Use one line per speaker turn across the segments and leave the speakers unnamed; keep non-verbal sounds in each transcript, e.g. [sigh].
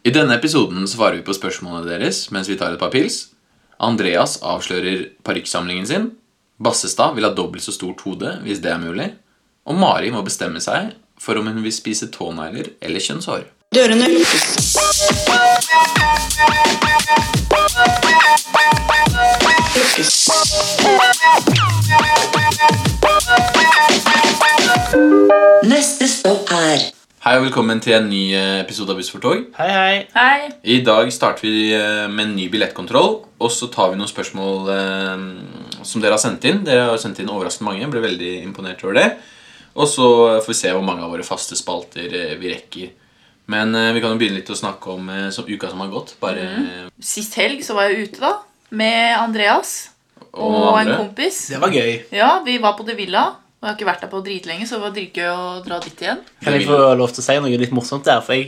I denne episoden svarer vi på spørsmålene deres mens vi tar et par pils. Andreas avslører parykksamlingen sin. Bassestad vil ha dobbelt så stort hode hvis det er mulig. Og Mari må bestemme seg for om hun vil spise tånegler eller kjønnshår.
Dørene lukkes. Lukkes. Neste stopp er
Hei og velkommen til en ny eh, episode av Buss for tog.
Hei, hei.
Hei.
I dag starter vi eh, med en ny billettkontroll, og så tar vi noen spørsmål eh, som dere har sendt inn. Dere har sendt inn overraskende mange. Jeg ble veldig imponert over det. Og så får vi se hvor mange av våre faste spalter eh, vi rekker. Men eh, vi kan jo begynne litt å snakke om eh, som uka som har gått. Bare
Mhm. Sist helg så var jeg ute, da. Med Andreas
og
og,
noen
en
andre.
kompis.
Det var gøy.
Ja, vi var på The Villa. Og jeg har ikke vært der på dritlenge, så det var dritgøy å dra dit igjen.
Kan jeg få lov til å si noe litt morsomt der? For jeg,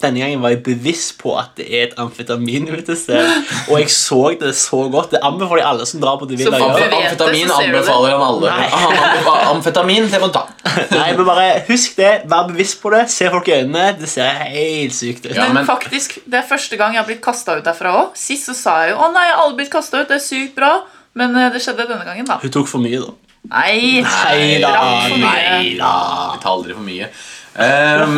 Denne gangen var jeg bevisst på at det er et amfetamin ute sted. Og jeg så det så godt. Det anbefaler jeg alle som drar på det
Så
ville
får
gjøre.
vi- vet det, så
Amfetamin
ser du det.
anbefaler han alle.
Nei.
Han anbefa- [laughs] Amfetamin, det må du ta.
[laughs] Nei, men bare Husk det. Vær bevisst på det. Se folk i øynene. Det ser helt sykt ut.
Ja,
men,
men-
faktisk, det er første gang jeg har blitt kasta ut derfra òg. Sist så sa jeg jo 'Å nei, jeg har aldri blitt kasta ut. Det er sykt bra'. Men eh, det skjedde denne gangen, da.
Hun tok for mye, da.
Nei!
Nei da,
drakk for mye.
nei da.
Vi tar aldri for mye. Ehm,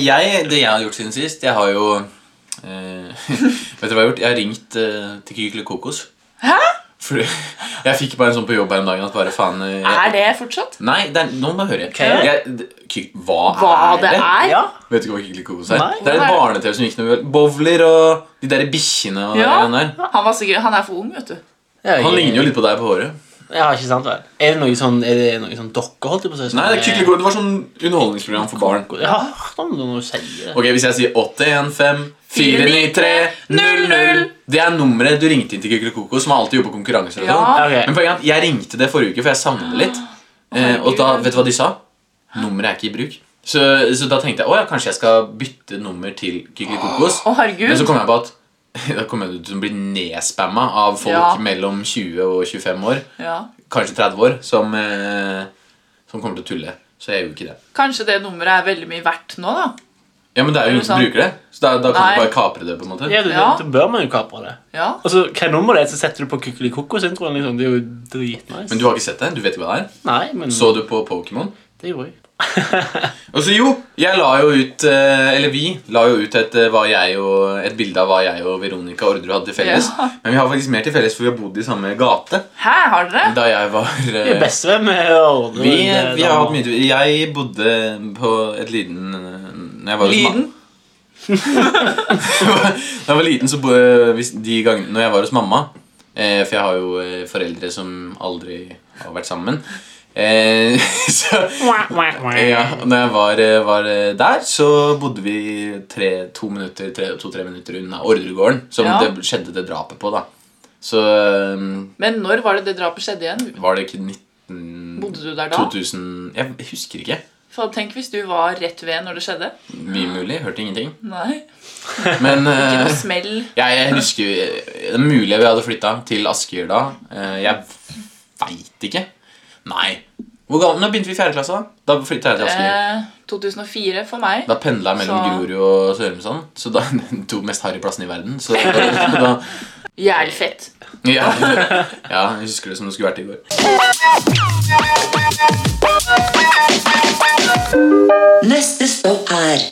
jeg, det jeg har gjort siden sist Jeg har jo eh, [laughs] Vet dere hva jeg har gjort? Jeg har ringt eh, til Kykle Kokos. Fordi jeg fikk bare en sånn på jobb her om dagen at bare faen eh, jeg,
Er det fortsatt?
Nei, det er, nå må jeg høre.
Ok.
Jeg, d- ky, hva,
Hva
er
det
det?
er?
Ja.
Vet du ikke hva Kykle Kokos er?
Nei.
Det er et barne-TV som gikk noe Bowler og de derre bikkjene og
Ja.
det der.
Han, var sikkert, han er for ung, vet du.
Han ligner jo litt på deg på håret.
Ja, ikke sant vel? Er det noe sånn, er det noe sånn dokke, holdt jeg på å si? som
Nei, det, er Kykle Kokos, det var sånn underholdningsprogram for barn.
Jeg har hørt om det når du sier det.
Ok, Hvis jeg sier 815-493-00 Det er nummeret du ringte inn til Kykelikoko, som alltid gjorde på konkurranser. og sånn.
Ja.
Ok.
Men poenget er at jeg ringte det forrige uke, for jeg savnet det litt. Eh, og da, vet du hva de sa? Nummeret er ikke i bruk. Så, så da tenkte jeg å ja, kanskje jeg skal bytte nummer til Kykelikokos.
Å, herregud.
Men så kom jeg på at [laughs] da kommer jeg til å bli nedspamma av folk
Ja.
mellom 20 og 25 år,
Ja.
kanskje 30 år, som, eh, som kommer til å tulle. Så jeg gjorde ikke det.
Kanskje det nummeret er veldig mye verdt nå, da.
Ja, Men det er jo ingen som
sant?
bruker det, så da, da kan
Nei.
du bare kapre det. på en måte
Ja, du,
Ja.
Da bør man jo kapre det.
Ja.
Og så, Altså, hva nummer det er, så setter du på Kykelikokos-introen. Liksom. Det er jo dritnice.
Men du har ikke sett det? Du vet ikke hva det er?
Nei, men
Så du på Pokémon?
det gjorde jeg. [laughs]
Og så jo, jeg la jo ut eh, Eller vi la jo ut et, eh, hva jeg og, et bilde av hva jeg og Veronica Orderud hadde til felles.
Ja.
Men vi har faktisk mer til felles, for vi har bodd i samme gate.
Hæ, har dere?
Da jeg var
Vi er
eh,
bestevenn med å ordne
vi,
det,
vi
da.
har hatt mye til- Jeg bodde på et liten eh, når jeg var hos [laughs]
Lyden?
mamma. da jeg var liten, så bo, eh, hvis de gangene Når jeg var hos mamma eh, For jeg har jo eh, foreldre som aldri har vært sammen. Eh, [laughs] så Ja, og Eh, når jeg var, var eh, der, så bodde vi tre, to minutter, tre, to-tre minutter unna Orderudgården, som
Ja.
det skjedde det drapet på. da. Så øhm,
Men når var det det drapet skjedde igjen?
var det ikke 19...
Bodde du der da?
2000 Jeg husker ikke.
For tenk hvis du var rett ved når det skjedde.
Mye mulig. Hørte ingenting.
Nei.
Men
Ikke
øh,
noe smell.
jeg, jeg husker Det er mulig vi hadde flytta til Asker da. Eh, Jeg veit ikke. Nei. Hvor gammel, Nå begynte vi i fjerde klasse, da. Da flytta jeg til Asker.
Eh, 2004 for meg.
Da pendla jeg mellom
Så-
Grorud og Sørumsand. Så da [laughs] de to mest harry plassene i verden. Så da, da
Jævlig fett.
ja, [laughs] ja, jeg husker det som det skulle vært i går.
Neste stopp er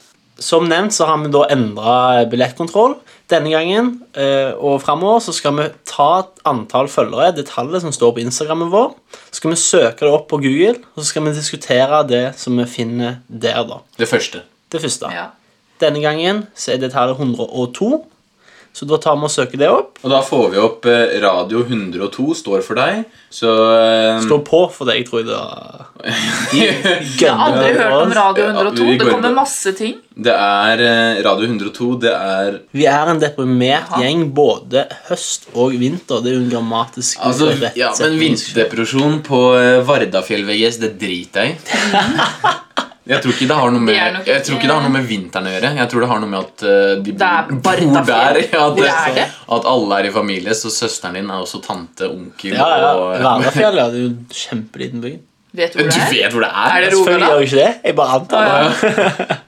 Som nevnt så har vi da endra billettkontroll denne gangen. eh, Og framover så skal vi ta et antall følgere, det tallet som står på Instagrammen vår. Så skal vi søke det opp på Google, og så skal vi diskutere det som vi finner der, da.
Det første.
Det første.
Ja.
Denne gangen så er det tallet 102, så da tar vi og søker det opp.
Og da får vi opp eh, Radio 102 står for deg, så eh,
Stå på for det, jeg tror det var
Jeg har aldri hørt om Radio
altså,
102.
Ja, vi går
Det
inn
kommer
på-
masse ting.
[laughs] Det er eh, Radio 102, det er
Vi er en deprimert
Jaha.
gjeng både høst og vinter. Det er jo en grammatisk
Altså,
rett
ja, men
setning.
vinterdepresjon på eh, Vardafjell VGS, det driter
[laughs]
jeg i. Jeg tror ikke det har noe med
Det er nok
Jeg tror ikke det har noe med vinteren å gjøre. Jeg tror det har noe med at eh, de
Det er
bor
Vardafjell.
der. Ja,
Hvor er det?
At alle er i familie, så søsteren din er også tante, onkel
Ja, ja.
eh,
og
Verdafjell ja, det
[laughs]
er jo en kjempeliten by.
Vet
[laughs]
du
Du
hvor det er?
vet hvor det er? altså.
Er det
Selvfølgelig
Rogaland?
gjør jo ikke det. Jeg bare antar det.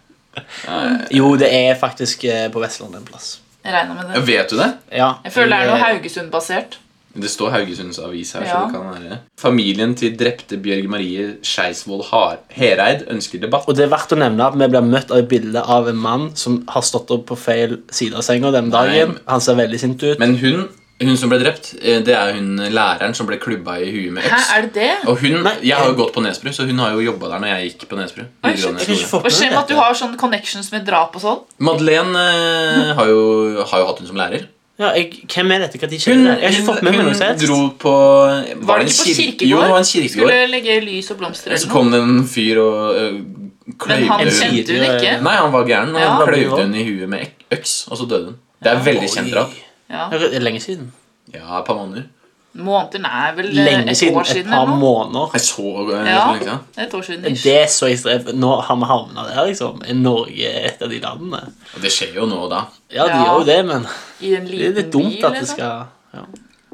Jo, det er faktisk eh, på Vestlandet en plass.
Jeg regner med
Ja,
det.
vet du det?
Ja,
Jeg føler det er
i,
noe
eh,
Haugesund-basert.
Det står Haugesunds avis her.
Ja.
så det kan være Familien til drepte Bjørg Marie Skeisvold Har- Hereid ønsker debatt.
Og det er verdt å nevne at vi blir møtt av et bilde av en mann som har stått opp på feil side av senga den dagen.
Nei.
Han ser veldig sint ut.
Men hun, hun som ble drept, eh, det er hun læreren som ble klubba i huet med
Hæ,
øks.
er det eh, det?
Og hun,
Nei.
Jeg har jo gått på Nesbru, så hun har jo jobba der når jeg gikk på Nesbru.
Oi, shit.
videregående skole.
Hva skjer med at du har sånne connections med drap og sånn?
Madeleine eh, har jo, har jo hatt hun som lærer.
Ja, jeg, hvem er dette? Hva de skjer? Jeg har ikke fått med meg noe som helst.
dro på
Var
en
det ikke på
kir-
kirkegård?
Jo, det var en kirkegård.
Skulle legge lys og blomster
Så
eller noe.
kom det en fyr og øh,
Men han
kløyvde hun.
En sier-
kjente hun ikke.
Nei, han var gæren. og
Ja.
Han kløyvde hun i huet med ek- øks, og så døde hun. Det er veldig kjent drap.
Ja.
Det er lenge siden.
Ja, et par måneder.
Måneder? Nei, vel eh,
Lenge
et
siden.
år
Et
siden
par
eller noe.
måneder.
Jeg så øh, så lenge
Ja,
siden.
et år siden. ish.
Det er så ekstremt. Nå har vi havna der, liksom. Er Norge et av de landene?
Og det skjer jo nå og da.
Ja, de
Ja.
gjør jo det, men
I en
det er
liten
litt dumt
by,
at det
liksom.
skal ja.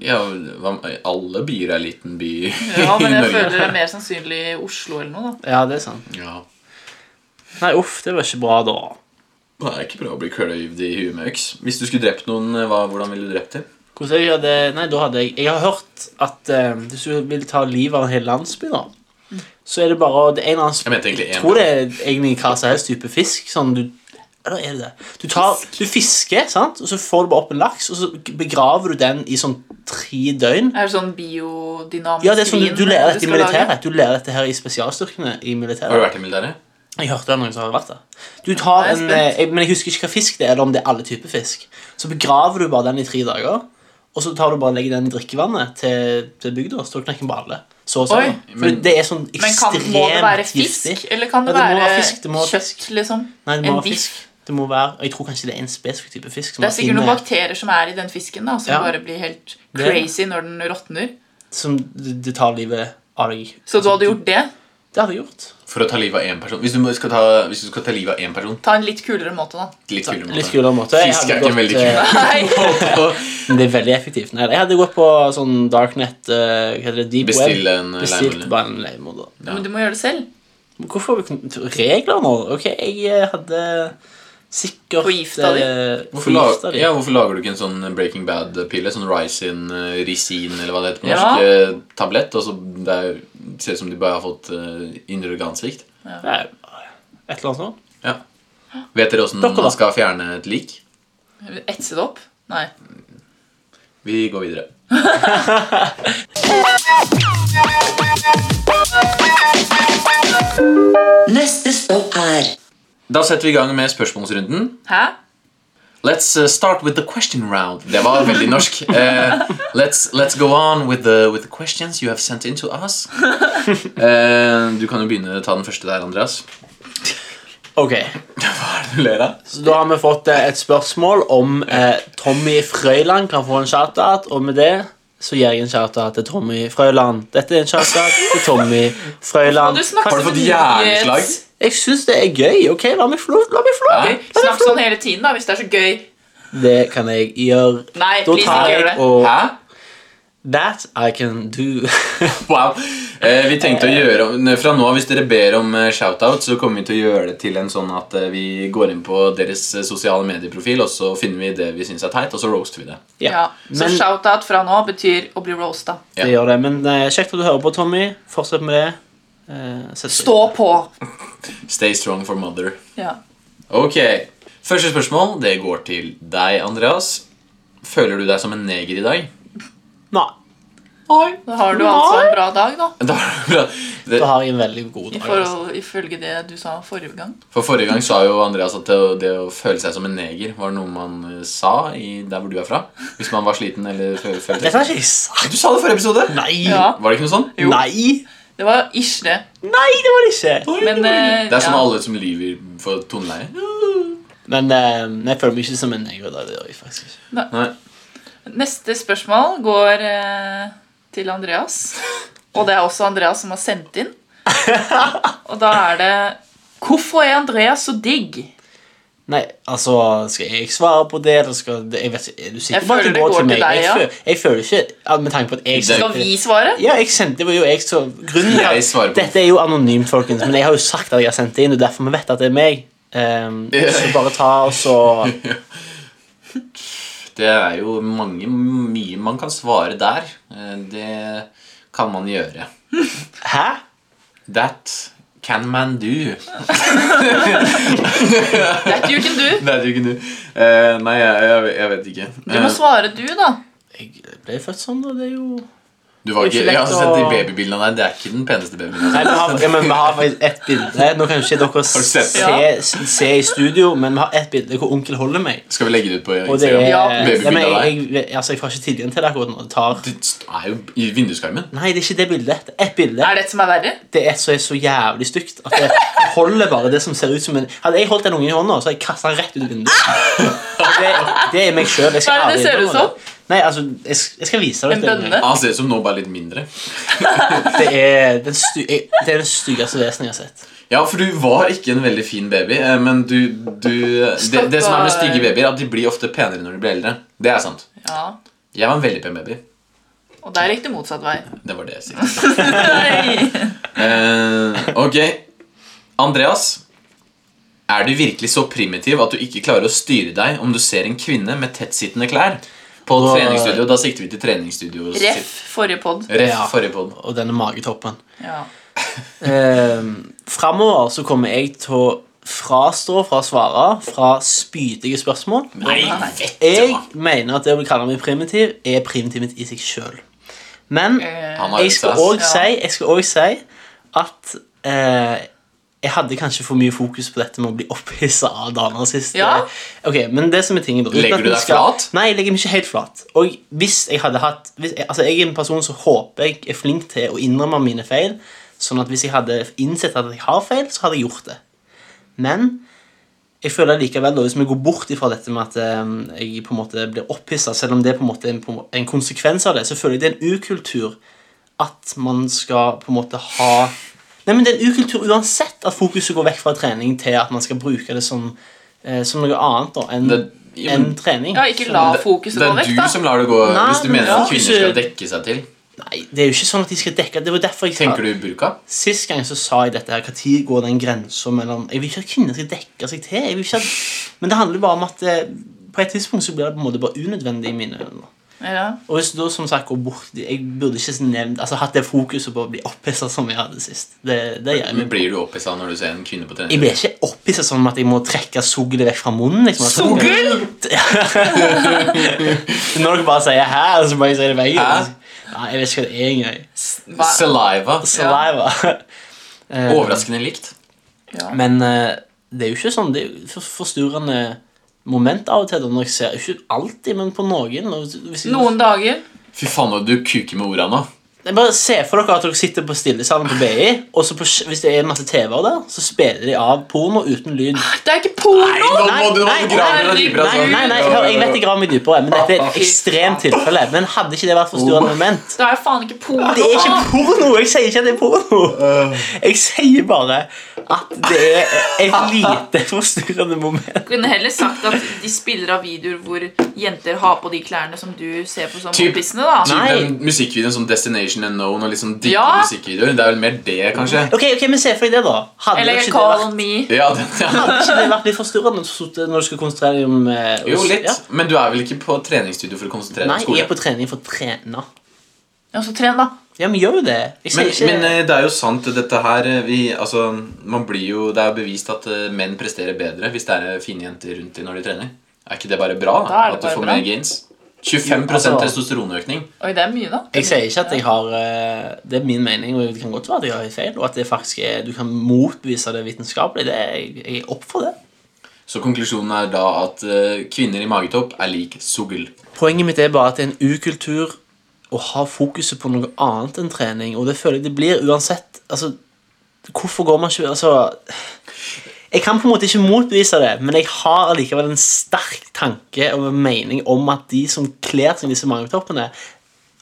Ja, hva- alle byer er liten by [laughs] i
Ja, men jeg
Norge.
føler det er mer sannsynlig i Oslo eller noe, da.
ja, det er sant.
Ja.
Nei, uff, det var ikke bra da.
Det er ikke bra å bli kløyvd i huet med øks. Hvis du skulle drept noen, eh, hva, hvordan ville du drept dem?
Hvordan jeg hadde, nei, da hadde jeg, jeg har hørt at eh, hvis du vil ta livet av en hel landsby, da, så er det bare det er en eller annen
Jeg mente egentlig en.
tror det er egentlig hva som helst type fisk. Sånn du eller er det det? Du, tar, du fisker, sant? og så får du bare opp en laks, og så begraver du den i sånn tre døgn.
Er det sånn biodynamisk
Ja, det er sånn, Du, du lærer dette i
skal lage?
militæret. Du lærer dette her i spesialstyrkene i
Har
militæret.
du vært i militæret?
Jeg hørte det er noen som har vært der. Du tar
Jeg er
en, eh, jeg, men jeg husker ikke hva fisk det er, eller om det er alle typer fisk. Så begraver du bare den i tre dager, og så tar du bare og legger den i drikkevannet til, til bygda. Så tar du knekken på alle. Så, og så.
Oi.
For det er sånn
Men kan,
ekstremt
må det være fisk,
giftig.
eller kan det,
Ja, det må
være,
være fisk, det må være
kjøtt,
fisk.
liksom?
Nei, det
En
må være
biff?
fisk. Det må være, og jeg tror kanskje det er en spesifikk type fisk. Som
Det er sikkert
man
noen
finner-
bakterier som er i den fisken, da, som
Ja.
bare blir helt
Det er det.
crazy når den råtner.
Som det det tar livet av deg.
Så du hadde gjort det?
Det hadde jeg gjort.
For å ta livet av én person. Hvis du, må- skal ta, hvis du skal ta livet av én person
Ta en litt kulere
[laughs]
måte, da.
Litt kulere måte.
Litt kulere måte. Jeg
Fisk
hadde
er ikke en
gått,
veldig kul
eh,
Nei,
[laughs] men Det er veldig effektivt. Nei, jeg hadde gått på sånn darknet eh, Hva heter det? Deep
Bestille
web.
en, eh,
Bestilt
leiemorder.
bare en leiemorder.
Men du må gjøre det selv.
Men Hvorfor har vi kn- regler nå? Ok, jeg eh, hadde sikkert
Forgifta
eh,
Hvorfor, la,
Forgifta de.
ja, hvorfor lager du ikke en sånn Breaking Bad-pille? Sånn Ricin, eh, Ricin eller hva det heter på
Ja.
norsk? eh, Tablett. Og så det er, ser ut som de bare har fått eh, indre organsvikt.
Nei, Et eller annet sånt.
Ja. Vet dere åssen
Dere, da?
man skal fjerne et lik?
Etse det opp. Nei.
Vi går videre.
Neste stopp er
Da setter vi i gang med spørsmålsrunden.
Hæ?
Let's eh, start with the question round. Det var veldig norsk. Eh, let's, let's go on with the, with the questions you have sent in to us. Eh, du kan jo begynne å ta den første der, Andreas.
Ok,
Hva er det du ler av?
så Da har vi fått eh, et spørsmål om eh, Tommy Frøyland kan få en shout-out. Og med det så gir jeg en shout-out til Tommy Frøyland. Dette er en shout-out til Tommy Frøyland.
Du snakker
Har du
som
fått
en
hjerneslag?
nyhets-
Jeg syns det er gøy. ok? La meg få lov. La meg få lov.
Hæ?
Snakk sånn hele tiden, da, hvis det er så gøy.
Det kan jeg gjøre.
Nei,
Da
please
tar
ikke
jeg
gjør det.
og
Hæ?
That I can do.
[laughs] Wow. Eh, vi tenkte å gjøre om- Fra nå av, hvis dere ber om eh, shoutout, så kommer vi til å gjøre det til en sånn at eh, vi går inn på deres eh, sosiale medieprofil, og så finner vi det vi syns er teit, og så roaster vi det.
Ja,
Ja. Så
men
shout-out fra nå betyr å bli roasta.
Ja.
det gjør det. Men eh, kjekt at du hører på, Tommy. Fortsett med det. Eh, sett-
Stå på.
Stay strong for mother.
Ja.
Ok. Første spørsmål det går til deg, Andreas. Føler du deg som en neger i dag? [laughs]
Nei,
Oi, da har du altså en bra dag, da.
Da, det,
da har jeg en veldig god
I
dag. altså.
forhold, ifølge det du sa forrige gang.
for Forrige gang sa jo Andreas at det, å- det å føle seg som en neger var noe man eh, sa i der hvor du er fra. Hvis man var sliten eller føl- følte
Dette har ikke jeg sagt.
Du sa det i forrige episode!
Nei!
Ja.
Var det ikke noe sånn?
Jo.
Nei!
Det var ish, det.
Nei, det var det ikke.
Men eh,
Det er sånn
ja.
alle som lyver for toneleie.
Men eh, jeg føler meg ikke som en neger. da, Det gjør jeg faktisk ikke.
Nei.
Neste spørsmål går eh, til Andreas. Og det er også Andreas som har sendt
[laughs]
inn. Og da er det Hvorfor er Andreas så digg?
Nei, altså, Skal jeg svare på det? Eller skal det, jeg vet, ikke, er du sikker
Jeg
på at
føler
det
det
går
går
til
til
meg?
deg, ja.
jeg, føler, jeg føler ikke at Med tanke på at jeg
Det-
Skal vi svare?
Ja, jeg sendte det var jo jeg som grunnen til
Jeg
at-
svarer på-
Dette er jo anonymt, folkens, men jeg har jo sagt at jeg har sendt det inn, og derfor vi vet at det er meg. Ehm, så bare ta og så
Det er jo mange, mye man kan svare der. Eh, Det kan man gjøre.
Hæ?
That can man do.
That you can do.
That you can do. Eh, nei, jeg, jeg, jeg vet ikke.
Du må
Eh,
svare du, da.
Jeg ble født sånn, da. Det er jo
du var ikke,
Ikke
jeg
lett
har sett de
å-
babybildene av deg. Det er ikke den peneste babyen. altså.
Nei, vi har, ja, men vi har faktisk ett bilde. Nå kan ikke dere
du
se,
sett
det?
se, se i studio, men vi har ett bilde hvor onkel holder meg.
Skal vi legge det ut på
Og det er
Instagram?
Ja.
Nei, men
Babybilde av
jeg,
deg.
jeg, altså, jeg får ikke tilgang til det akkurat nå. Det tar
Det er jo i vinduskarmen.
Nei, det er ikke det bildet. Det er ett bilde.
Er det et som er verre?
Det er så, er så jævlig stygt at det holder bare det som ser ut som en Hadde jeg holdt den ungen i hånda, så hadde jeg kasta den rett ut av vinduet. Og Det, det er meg sjøl. Jeg skal
Hva er det det
aldri
ser ut
innrømme det. Nei, altså, jeg, sk- jeg skal vise deg
En
dette.
bønne?
Han ser ut som nå, bare litt mindre.
Det er den sty- jeg- det er det styggeste vesenet jeg har sett.
Ja, for du var ikke en veldig fin baby, eh, men du, du det, det som er med stygge babyer, er at de blir ofte penere når de blir eldre. Det er sant.
Ja.
Jeg var en veldig pen baby.
Og der gikk det motsatt vei.
Det var det jeg siktet til.
Nei.
Eh, ok. Andreas. Er du virkelig så primitiv at du ikke klarer å styre deg om du ser en kvinne med tettsittende klær? På
Wow.
treningsstudio, Da sikter vi til treningsstudio.
Ref forrige pod.
Ref
Ja.
forrige podd.
Og denne magetoppen.
Ja.
Um, Framover så kommer jeg til å frastå fra å svare fra spydige spørsmål.
Nei,
Nei.
vet du
Jeg
hva!
mener at det å bli kalt meg primitiv, er primitivet i seg sjøl. Men
Eh,
Han har
jeg
jo
skal
sass.
òg
Ja.
si, jeg skal også si at eh, jeg hadde kanskje for mye fokus på dette med å bli opphissa av damer sist.
Ja.
Ok, men det som er tingen da uten
Legger
at
du
vi
deg flat?
Nei, jeg legger meg ikke helt flat. Og hvis jeg hadde hatt hvis, Altså, jeg er en person som håper jeg er flink til å innrømme mine feil. Sånn at hvis jeg hadde innsett at jeg har feil, så hadde jeg gjort det. Men jeg føler likevel da, hvis vi går bort ifra dette med at eh, jeg på en måte blir opphissa, selv om det på en måte er en, på en må- en konsekvens av det, så føler jeg det er en ukultur at man skal på en måte ha Nei, men Det er en ukultur uansett at fokuset går vekk fra trening til at man skal bruke det som, eh, som noe annet da, enn
Det- ja, men-
enn trening.
Ja, ikke la
Det,
fokuset
det
gå
er
vekk,
du
da.
som lar det gå
Nei,
hvis du
men
mener at
ja,
kvinner skal
ikke-
dekke seg til.
Nei, Det er jo ikke sånn at de skal dekke Det var derfor jeg sa
Tenker du burka?
Sist gang så sa jeg dette her, hva tid går den grensen mellom Jeg vil ikke at kvinner skal dekke seg til. Jeg vil ikke at, men det handler bare om at eh, på et tidspunkt så blir det på en måte bare unødvendig i mine øyne.
Ja.
Og hvis du da som sagt går bort Jeg burde ikke nevnt, altså hatt det fokuset på å bli opphissa som jeg hadde sist. Det, det gjør
Men
jeg.
Blir du opphissa når du ser en kvinne på trening?
Jeg blir ikke opphissa som at jeg må trekke suglet vekk fra munnen. Liksom. Altså,
Sugel!
Når dere bare sier 'hæ', så bare jeg sier det begge.
Hæ?
Nei, jeg vet ikke hva det er engang.
Hva-
Saliva.
Saliva. [laughs] Eh,
Overraskende likt.
Ja.
Men eh, det er jo ikke sånn Det er jo for- forstyrrende moment av og til da, når jeg ser Ikke alltid, men på noen. og Hvis jeg,
Noen dager.
Fy faen, nå, du kuker med orda nå.
Jeg bare Se for dere at dere sitter på stillesalen på BI, og så på, sk- hvis det er masse TV-er der, så spiller de av porno uten lyd.
Det er ikke porno!
Nå må du nå
nei,
grave deg
nei,
dypere.
Nei,
altså.
nei, nei, hør, jeg vet jeg graver meg dypere, men dette er et ekstremt tilfelle. Men hadde ikke det vært forstyrrende moment?
Det er faen ikke porno!
Det er ikke porno! Jeg sier ikke at det er porno. Jeg sier bare at det er et lite forstyrrende moment.
kunne heller sagt at de spiller av videoer hvor jenter har på de klærne som du ser på som
Typ.
opphissende, da.
Typ
Nei.
den musikkvideoen som Destination Unknown og liksom digge
Ja.
musikkvideoer. Det er vel mer det, kanskje?
Ok, ok, men se for deg det, da. Hadde
Eller
ikke det vært
Call Me.
Ja, den, ja.
Hadde ikke det vært litt forstyrrende så satt det når du skal konsentrere deg om eh,
Jo,
oss-
litt.
ja.
Men du er vel ikke på treningsstudio for å konsentrere
Nei,
deg om
jeg er
skole?
på trening for å trene.
Ja, så tren, da.
Ja, men gjør jo det. Jeg
Men,
sier ikke
men eh, det er jo sant, dette her eh, vi, altså, man blir jo, Det er jo bevist at eh, menn presterer bedre hvis det er fine jenter rundt dem når de trener. Er ikke det bare bra?
Da er det
at du
bare
får
bra.
mer gains? 25
Jo, altså-
testosteronøkning.
Oi, det er mye, da.
Jeg sier ikke at jeg har eh, Det er min mening, og det kan godt være at jeg har feil, og at det faktisk er, du kan motbevise det vitenskapelig. Det er, jeg- jeg er opp for det.
Så konklusjonen er da at eh, kvinner i magetopp er lik sugl.
Poenget mitt er bare at det er en ukultur å ha fokuset på noe annet enn trening, og det føler jeg det blir uansett. Altså, hvorfor går man ikke Altså Jeg kan på en måte ikke motbevise det, men jeg har allikevel en sterk tanke og en mening om at de som kler seg i disse magetoppene,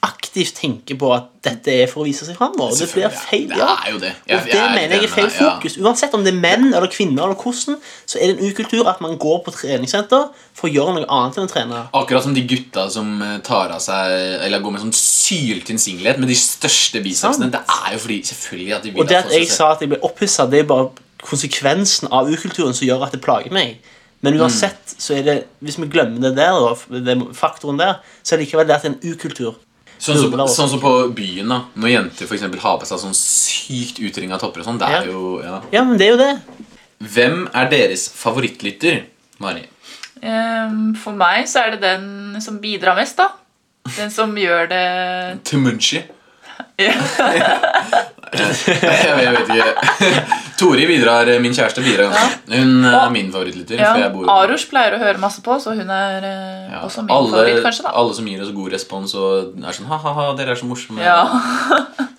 aktivt tenker på at dette er for å vise seg framover. Det blir feil.
Selvfølgelig, ja.
ja.
Det er jo det. Jeg-
Og
jeg
det
er
mener jeg er
enig
feil
med deg, ja.
fokus. Uansett om det er menn eller kvinner, eller hvordan, så er det en ukultur at man går på treningssenter for å gjøre noe annet enn å trene.
Akkurat som de gutta som eh, tar av seg Eller går med sånn syltynn singlet med de største bicepsene.
Sant.
Det er jo fordi selvfølgelig at de vil
Og det
folk
at
skal
jeg
se-
sa at jeg ble opphissa, det er bare konsekvensen av ukulturen som gjør at det plager meg. Men
Mm.
uansett, så er det, hvis vi glemmer det der, da, den faktoren der, så er likevel det at det er en ukultur.
Sånn som,
Nobler også.
sånn som på byen, da. Når jenter for eksempel har på seg sånn sykt utringa topper og sånn. Det
Ja.
er jo ja.
Ja, men det er jo det.
Hvem er deres favorittlytter, Mari?
Ehm, for meg så er det den som bidrar mest, da. Den som gjør det
Tumunchi? jeg, [laughs] jeg vet ikke. [laughs] Tori bidrar, min kjæreste bidrar ganske. Hun eh, er min favorittlytter.
Ja,
for jeg bor
Aros pleier å høre masse på, så hun er eh,
Ja,
også min
alle,
favoritt, kanskje. da
alle som gir oss god respons og er sånn ha-ha-ha, dere er så morsomme.
ja.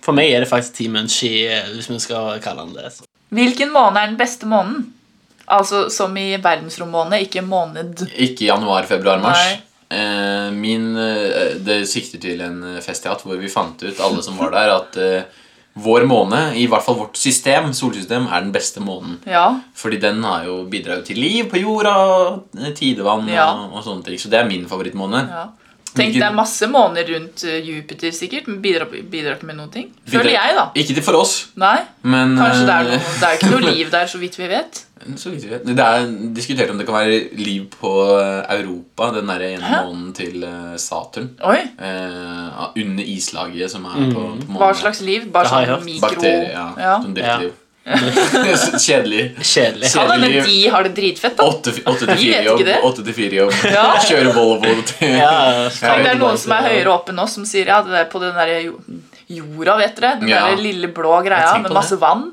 For meg er det faktisk Team Munchie, eh, hvis vi skal kalle han det.
Hvilken måned er den beste måneden? Altså som i verdensrommåned, ikke måned.
Ikke januar, februar, mars. Eh, min, eh, det sikter til en eh, fest jeg har hatt, hvor vi fant ut, alle som var der, at eh, vår måned, i hvert fall vårt system, solsystem, er den beste måneden.
Ja.
Fordi den har jo bidratt til liv på jorda, og tidevann
Ja.
og, og sånne ting. Så det er min favorittmåned.
ja. Tenk,
Hvilken-
det er masse måneder rundt eh, Jupiter, sikkert. Men bidrar, bidrar ikke med noen ting. Føler
Bidrar-
jeg, da.
Ikke til for oss,
Nei,
men
kanskje det er
eh,
noe Det er jo ikke
[laughs]
noe liv der, så vidt vi vet.
Så vidt vi vet. Det er diskutert om det kan være liv på eh, Europa, den derre ene måneden til eh, Saturn.
Oi,
Eh, under islaget som er på, på
Hva
månen.
slags liv? Bare
Det har jeg
sånn
hørt.
mikro...
Bakterier, ja. Sånn
ja.
Som
Ja.
drittliv. [laughs] Kjedelig.
Kjedelig.
Ja, da, men
Kjedelig.
de har det dritfett, da.
Åtte åtte til
Vi vet
fire
ikke
jobb.
det.
Åtte til fire jobb.
Ja.
[laughs] Kjøre Volvo til
Ja,
Tenk, det
vet
er
ikke
noen som er høyere opp enn oss, som sier ja, det der på den der jo- jorda, vet dere. Den
Ja.
der lille blå
Jeg
greia
tenkte
med
på
masse
det.
vann.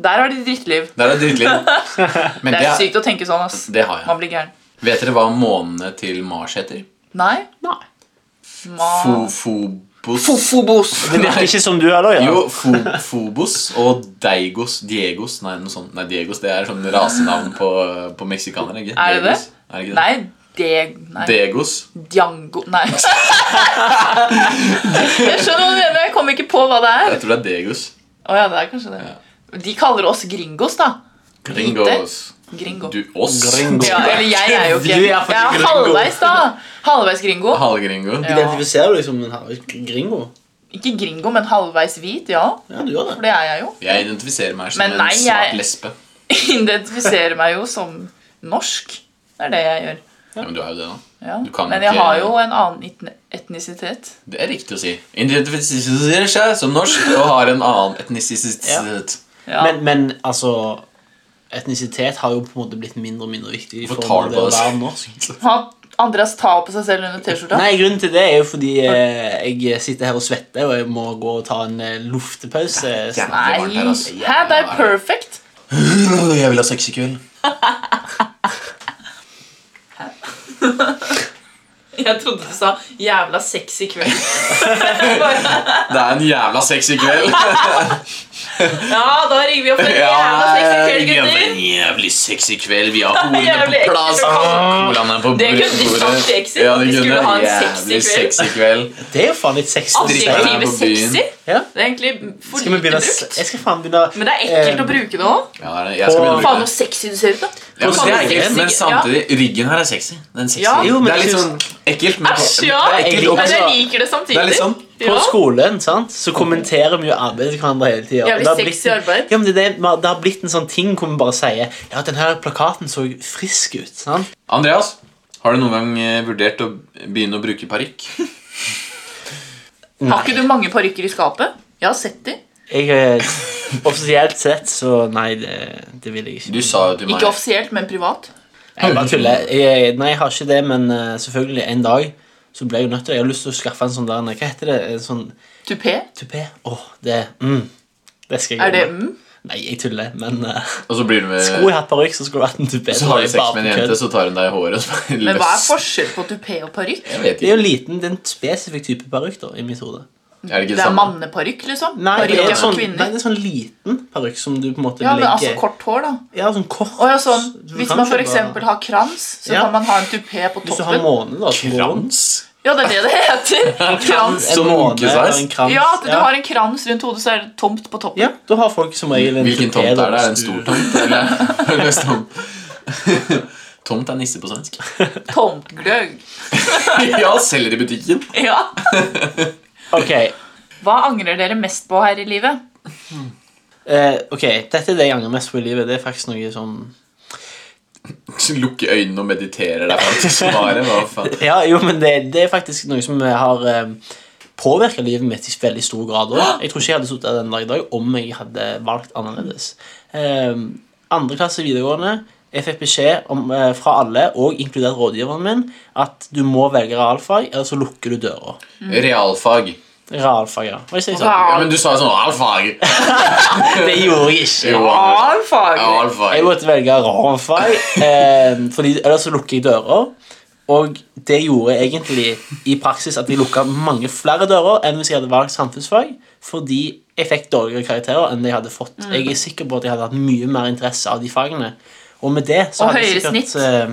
Der har de drittliv.
Der er det
[laughs]
drittliv. Men
Det
det,
er
er-
sykt å tenke sånn, ass.
det har jeg.
Man blir gæren.
Vet dere hva månene til Mars heter?
Nei.
Nei.
Fo
Ma...
Phobos.
Fofobos.
Det virker ikke som du er da, ja.
Jo, fo Phobos og Deigos Diegos. Nei, noe sånt. Nei, Diegos det er sånn rasenavn på, på meksikanere. Ikke?
Er det
Diegos. Er det ikke det?
Nei, det Nei.
Diegos.
Django Nei. [laughs] Jeg skjønner hva du mener, jeg kom ikke på hva det er.
Jeg tror det er Diegos.
Å ja, det er kanskje det. De kaller oss gringos, da.
Gringos.
Gringo.
Du, oss?
Gringo.
Ja, eller jeg er jo ikke
Du er
Jeg
faktisk
er
gringo.
halvveis, da. Halvveis gringo.
Halvgringo.
Ja.
Identifiserer du deg som en halv- gringo?
Ikke gringo, men halvveis hvit, ja.
Ja, du gjør
For det er jeg jo. [laughs]
Jeg identifiserer meg som
Men nei,
en svart
jeg-
lesbe.
Identifiserer meg jo som norsk. Det er det jeg gjør.
Ja, men du er jo det, da.
Ja.
Du kan
Men jeg
ikke-
har jo en annen etn- etnisitet.
Det er riktig å si. Identifiserer seg som norsk og har en annen etnisitet.
Ja.
Men, men altså Etnisitet har jo på en måte blitt mindre og mindre viktig.
Hvorfor
for
tar du
det
på
å
det?
være norsk
Har Andreas tar på seg selv under T-skjorta?
Nei, Grunnen til det er jo fordi eh, jeg sitter her og svetter, og jeg må gå og ta en eh, luftepause. snart.
Jævlig varmt her, altså.
Hæ, det er perfect.
Jeg vil ha sex i kveld.
Jeg trodde du sa 'jævla sexy
[laughs]
kveld'. Bare,
Det er en jævla sex i
[laughs]
kveld.
ja, da ringer vi opp en jævla sexy kveld,
vi har
gutter.
en jævlig sexy kveld. Vi har horene
[laughs] Jævlig
på plass.
ekkelt å
Colaen er på
Det kunne de
bordet.
sagt i Exit,
Ja,
at
de
vi skulle
kunne.
ha en sexy
Jævlig
kveld.
sexy kveld.
Det er jo faen litt sexy. å
Altså,
si.
Drikker Adjektiv. her på byen.
Adjektivet sexy?
Ja.
Det er egentlig for
Skal vi
lite
begynne å s-
brukt.
Jeg skal faen begynne å-
Men det er ekkelt
eh,
å bruke det òg.
Ja, det er det. jeg skal begynne å
Faen,
bruke
så
det.
sexy du ser ut, da.
Ja, men, det er ekkelt, men
Ja.
samtidig, ryggen her er sexy. Den sexy.
Ja.
Jo, men
det er
jeg
litt sånn
synes-
ekkelt, men
Æsj,
det
ja.
er
Jeg
ekkelt
liker-
og
Men jeg
altså,
liker det samtidig.
Det er litt sånn.
På
Ja.
skolen sant? så kommenterer vi jo arbeidet til hverandre hele tida.
Jævlig sexy arbeid.
Ja, men det, er det, det har blitt en sånn ting hvor vi bare sier Ja, den her plakaten så frisk ut. sant?
Andreas, har du noen gang eh, vurdert å begynne å bruke parykk?
Har ikke du mange parykker i skapet? Jeg har sett de.
Jeg, eh, [laughs] offisielt sett, så nei, det, det vil jeg ikke.
Du sa jo til meg
Ikke offisielt, men privat.
Jeg bare tuller. Jeg, nei, jeg har ikke det, men eh, selvfølgelig, en dag så ble jeg jo nødt til det. Jeg har lyst til å skaffe en sånn der Hva heter det? En sånn
Tupé.
tupé? Åh, det mm, Det skal jeg
Er det
gjøre.
mm?
Nei, jeg tuller, men eh,
Og så blir du med
Skulle jeg hatt parykk, så skulle det vært en tupé.
Så har du
Det er
sex
bare
med en
på
jente,
kødd.
så tar hun deg i håret. og så er det
Men hva er
løs.
forskjell på tupé og parykk?
Jeg vet
Det
ikke.
er jo liten, det er en spesifikk type parykk, da, i mitt hode.
Er det ikke
Det
det
er
samme?
manneparykk, liksom.
Nei, det
Parykk
er
er
en
for
sånn, nei,
kvinner.
det er sånn liten parykk som du på en måte
Ja, men
legger
altså kort hår, da.
Ja, sånn kort.
Å, ja, sånn.
Du
Hvis
kan
man for
kjøpe-
eksempel har krans, så
Ja.
kan man ha en tupé på
Hvis du har
toppen.
måne, da. så går den.
Krans?
Ja, det er det det
[laughs]
heter. Krans.
En
Som
måne
munkesveis?
eller en krans.
Ja, at du har en krans rundt hodet, så er det tomt på toppen.
ja, da har folk som regel en
Hvilken
tupé,
tomt
da,
er det? Er det en
hvis
stor
du-
tomt? Eller [laughs] er det løs tomt? Tomt er nisse på svensk.
Tomtgløgg.
[laughs] Ja, selger i butikken.
Ja.
Ok,
Hva angrer dere mest på her i livet?
Eh, ok, dette er det jeg angrer mest på i livet. Det er faktisk noe som
Lukke øynene og meditere deg fram til svaret. Hva faen?
Ja, jo, men det, det er faktisk noe som har eh, påvirka livet mitt i veldig stor grad òg. Jeg tror ikke jeg hadde sittet her den dag i dag om jeg hadde valgt annerledes. Eh, andre klasse videregående jeg fikk beskjed om, eh, fra alle, og inkludert rådgiveren min, at du må velge realfag, eller så lukker du døra.
Realfag.
Realfag, ja. Hva sa jeg? sa?
Ja, men du sa jo sånn realfag.
Det gjorde jeg ikke.
Jo,
Realfag.
Jeg
realfag.
måtte velge realfag, eh, fordi ellers så lukker jeg dører. Og det gjorde egentlig i praksis at jeg lukka mange flere dører enn hvis jeg hadde valgt samfunnsfag, fordi jeg fikk dårligere karakterer enn det jeg hadde fått.
Mm.
Jeg er sikker på at jeg hadde hatt mye mer interesse av de fagene. Og med det så
Og
hadde jeg
høyere
sikkert eh,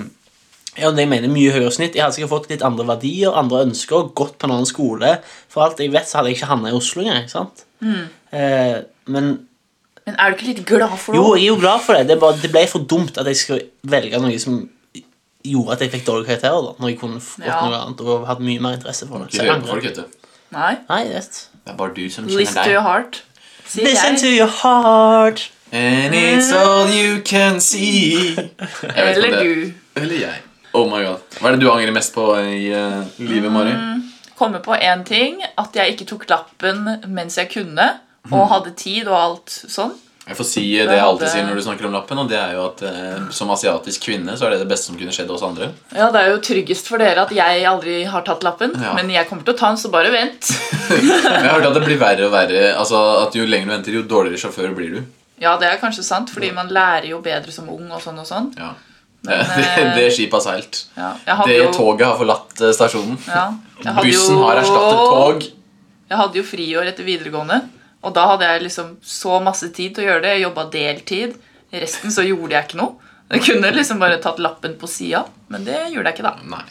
ja, det jeg mener mye høyere snitt. Jeg hadde sikkert fått litt andre verdier, andre ønsker, gått på en annen skole. For alt jeg vet, så hadde jeg ikke havna i Oslo engang. ikke sant?
Mm.
Eh, men
Men er du ikke litt glad for det?
jo, jeg er jo glad for det. Det, er bare, det ble for dumt at jeg skulle velge noe som gjorde at jeg fikk dårlige karakterer. da Når jeg kunne fått
Ja.
noe annet og hatt mye mer interesse for det. Så
Ikke
jeg
hør på
angrer.
folk, vet du.
Nei.
Nei, jeg vet
Det er bare du som
Listen
kjenner
to
deg.
your heart. Sier
Listen to
jeg.
your heart.
And it's all you can see. Jeg vet ikke om
Eller
det-
du.
Eller jeg. Oh my god. Hva er det du angrer mest på i eh,
Mm.
livet, Mari?
Komme på én ting. At jeg ikke tok lappen mens jeg kunne.
Mm.
Og hadde tid og alt sånn.
Jeg får si eh, det jeg alltid sier når du snakker om lappen, og det er jo at eh, som asiatisk kvinne så er det det beste som kunne skjedd oss andre.
Ja, Det er jo tryggest for dere at jeg aldri har tatt lappen.
Ja.
Men jeg kommer til å ta den, så bare vent.
[laughs] Men jeg har hørt at det blir verre og verre. Altså at Jo lenger du venter, jo dårligere sjåfør blir du.
Ja, det er kanskje sant, fordi man lærer jo bedre som ung og sånn og sånn.
Ja.
Men,
[laughs] det,
eh,
det skipet har seilt.
Ja, jeg hadde
Det
jo,
toget har forlatt eh, stasjonen.
ja, jeg hadde
Bussen
jo-
har erstattet tog.
Jeg hadde jo friår etter videregående, og da hadde jeg liksom så masse tid til å gjøre det. Jeg jobba deltid. Resten så gjorde jeg ikke noe. Jeg kunne liksom bare tatt lappen på sida, men det gjorde jeg ikke, da.
Nei.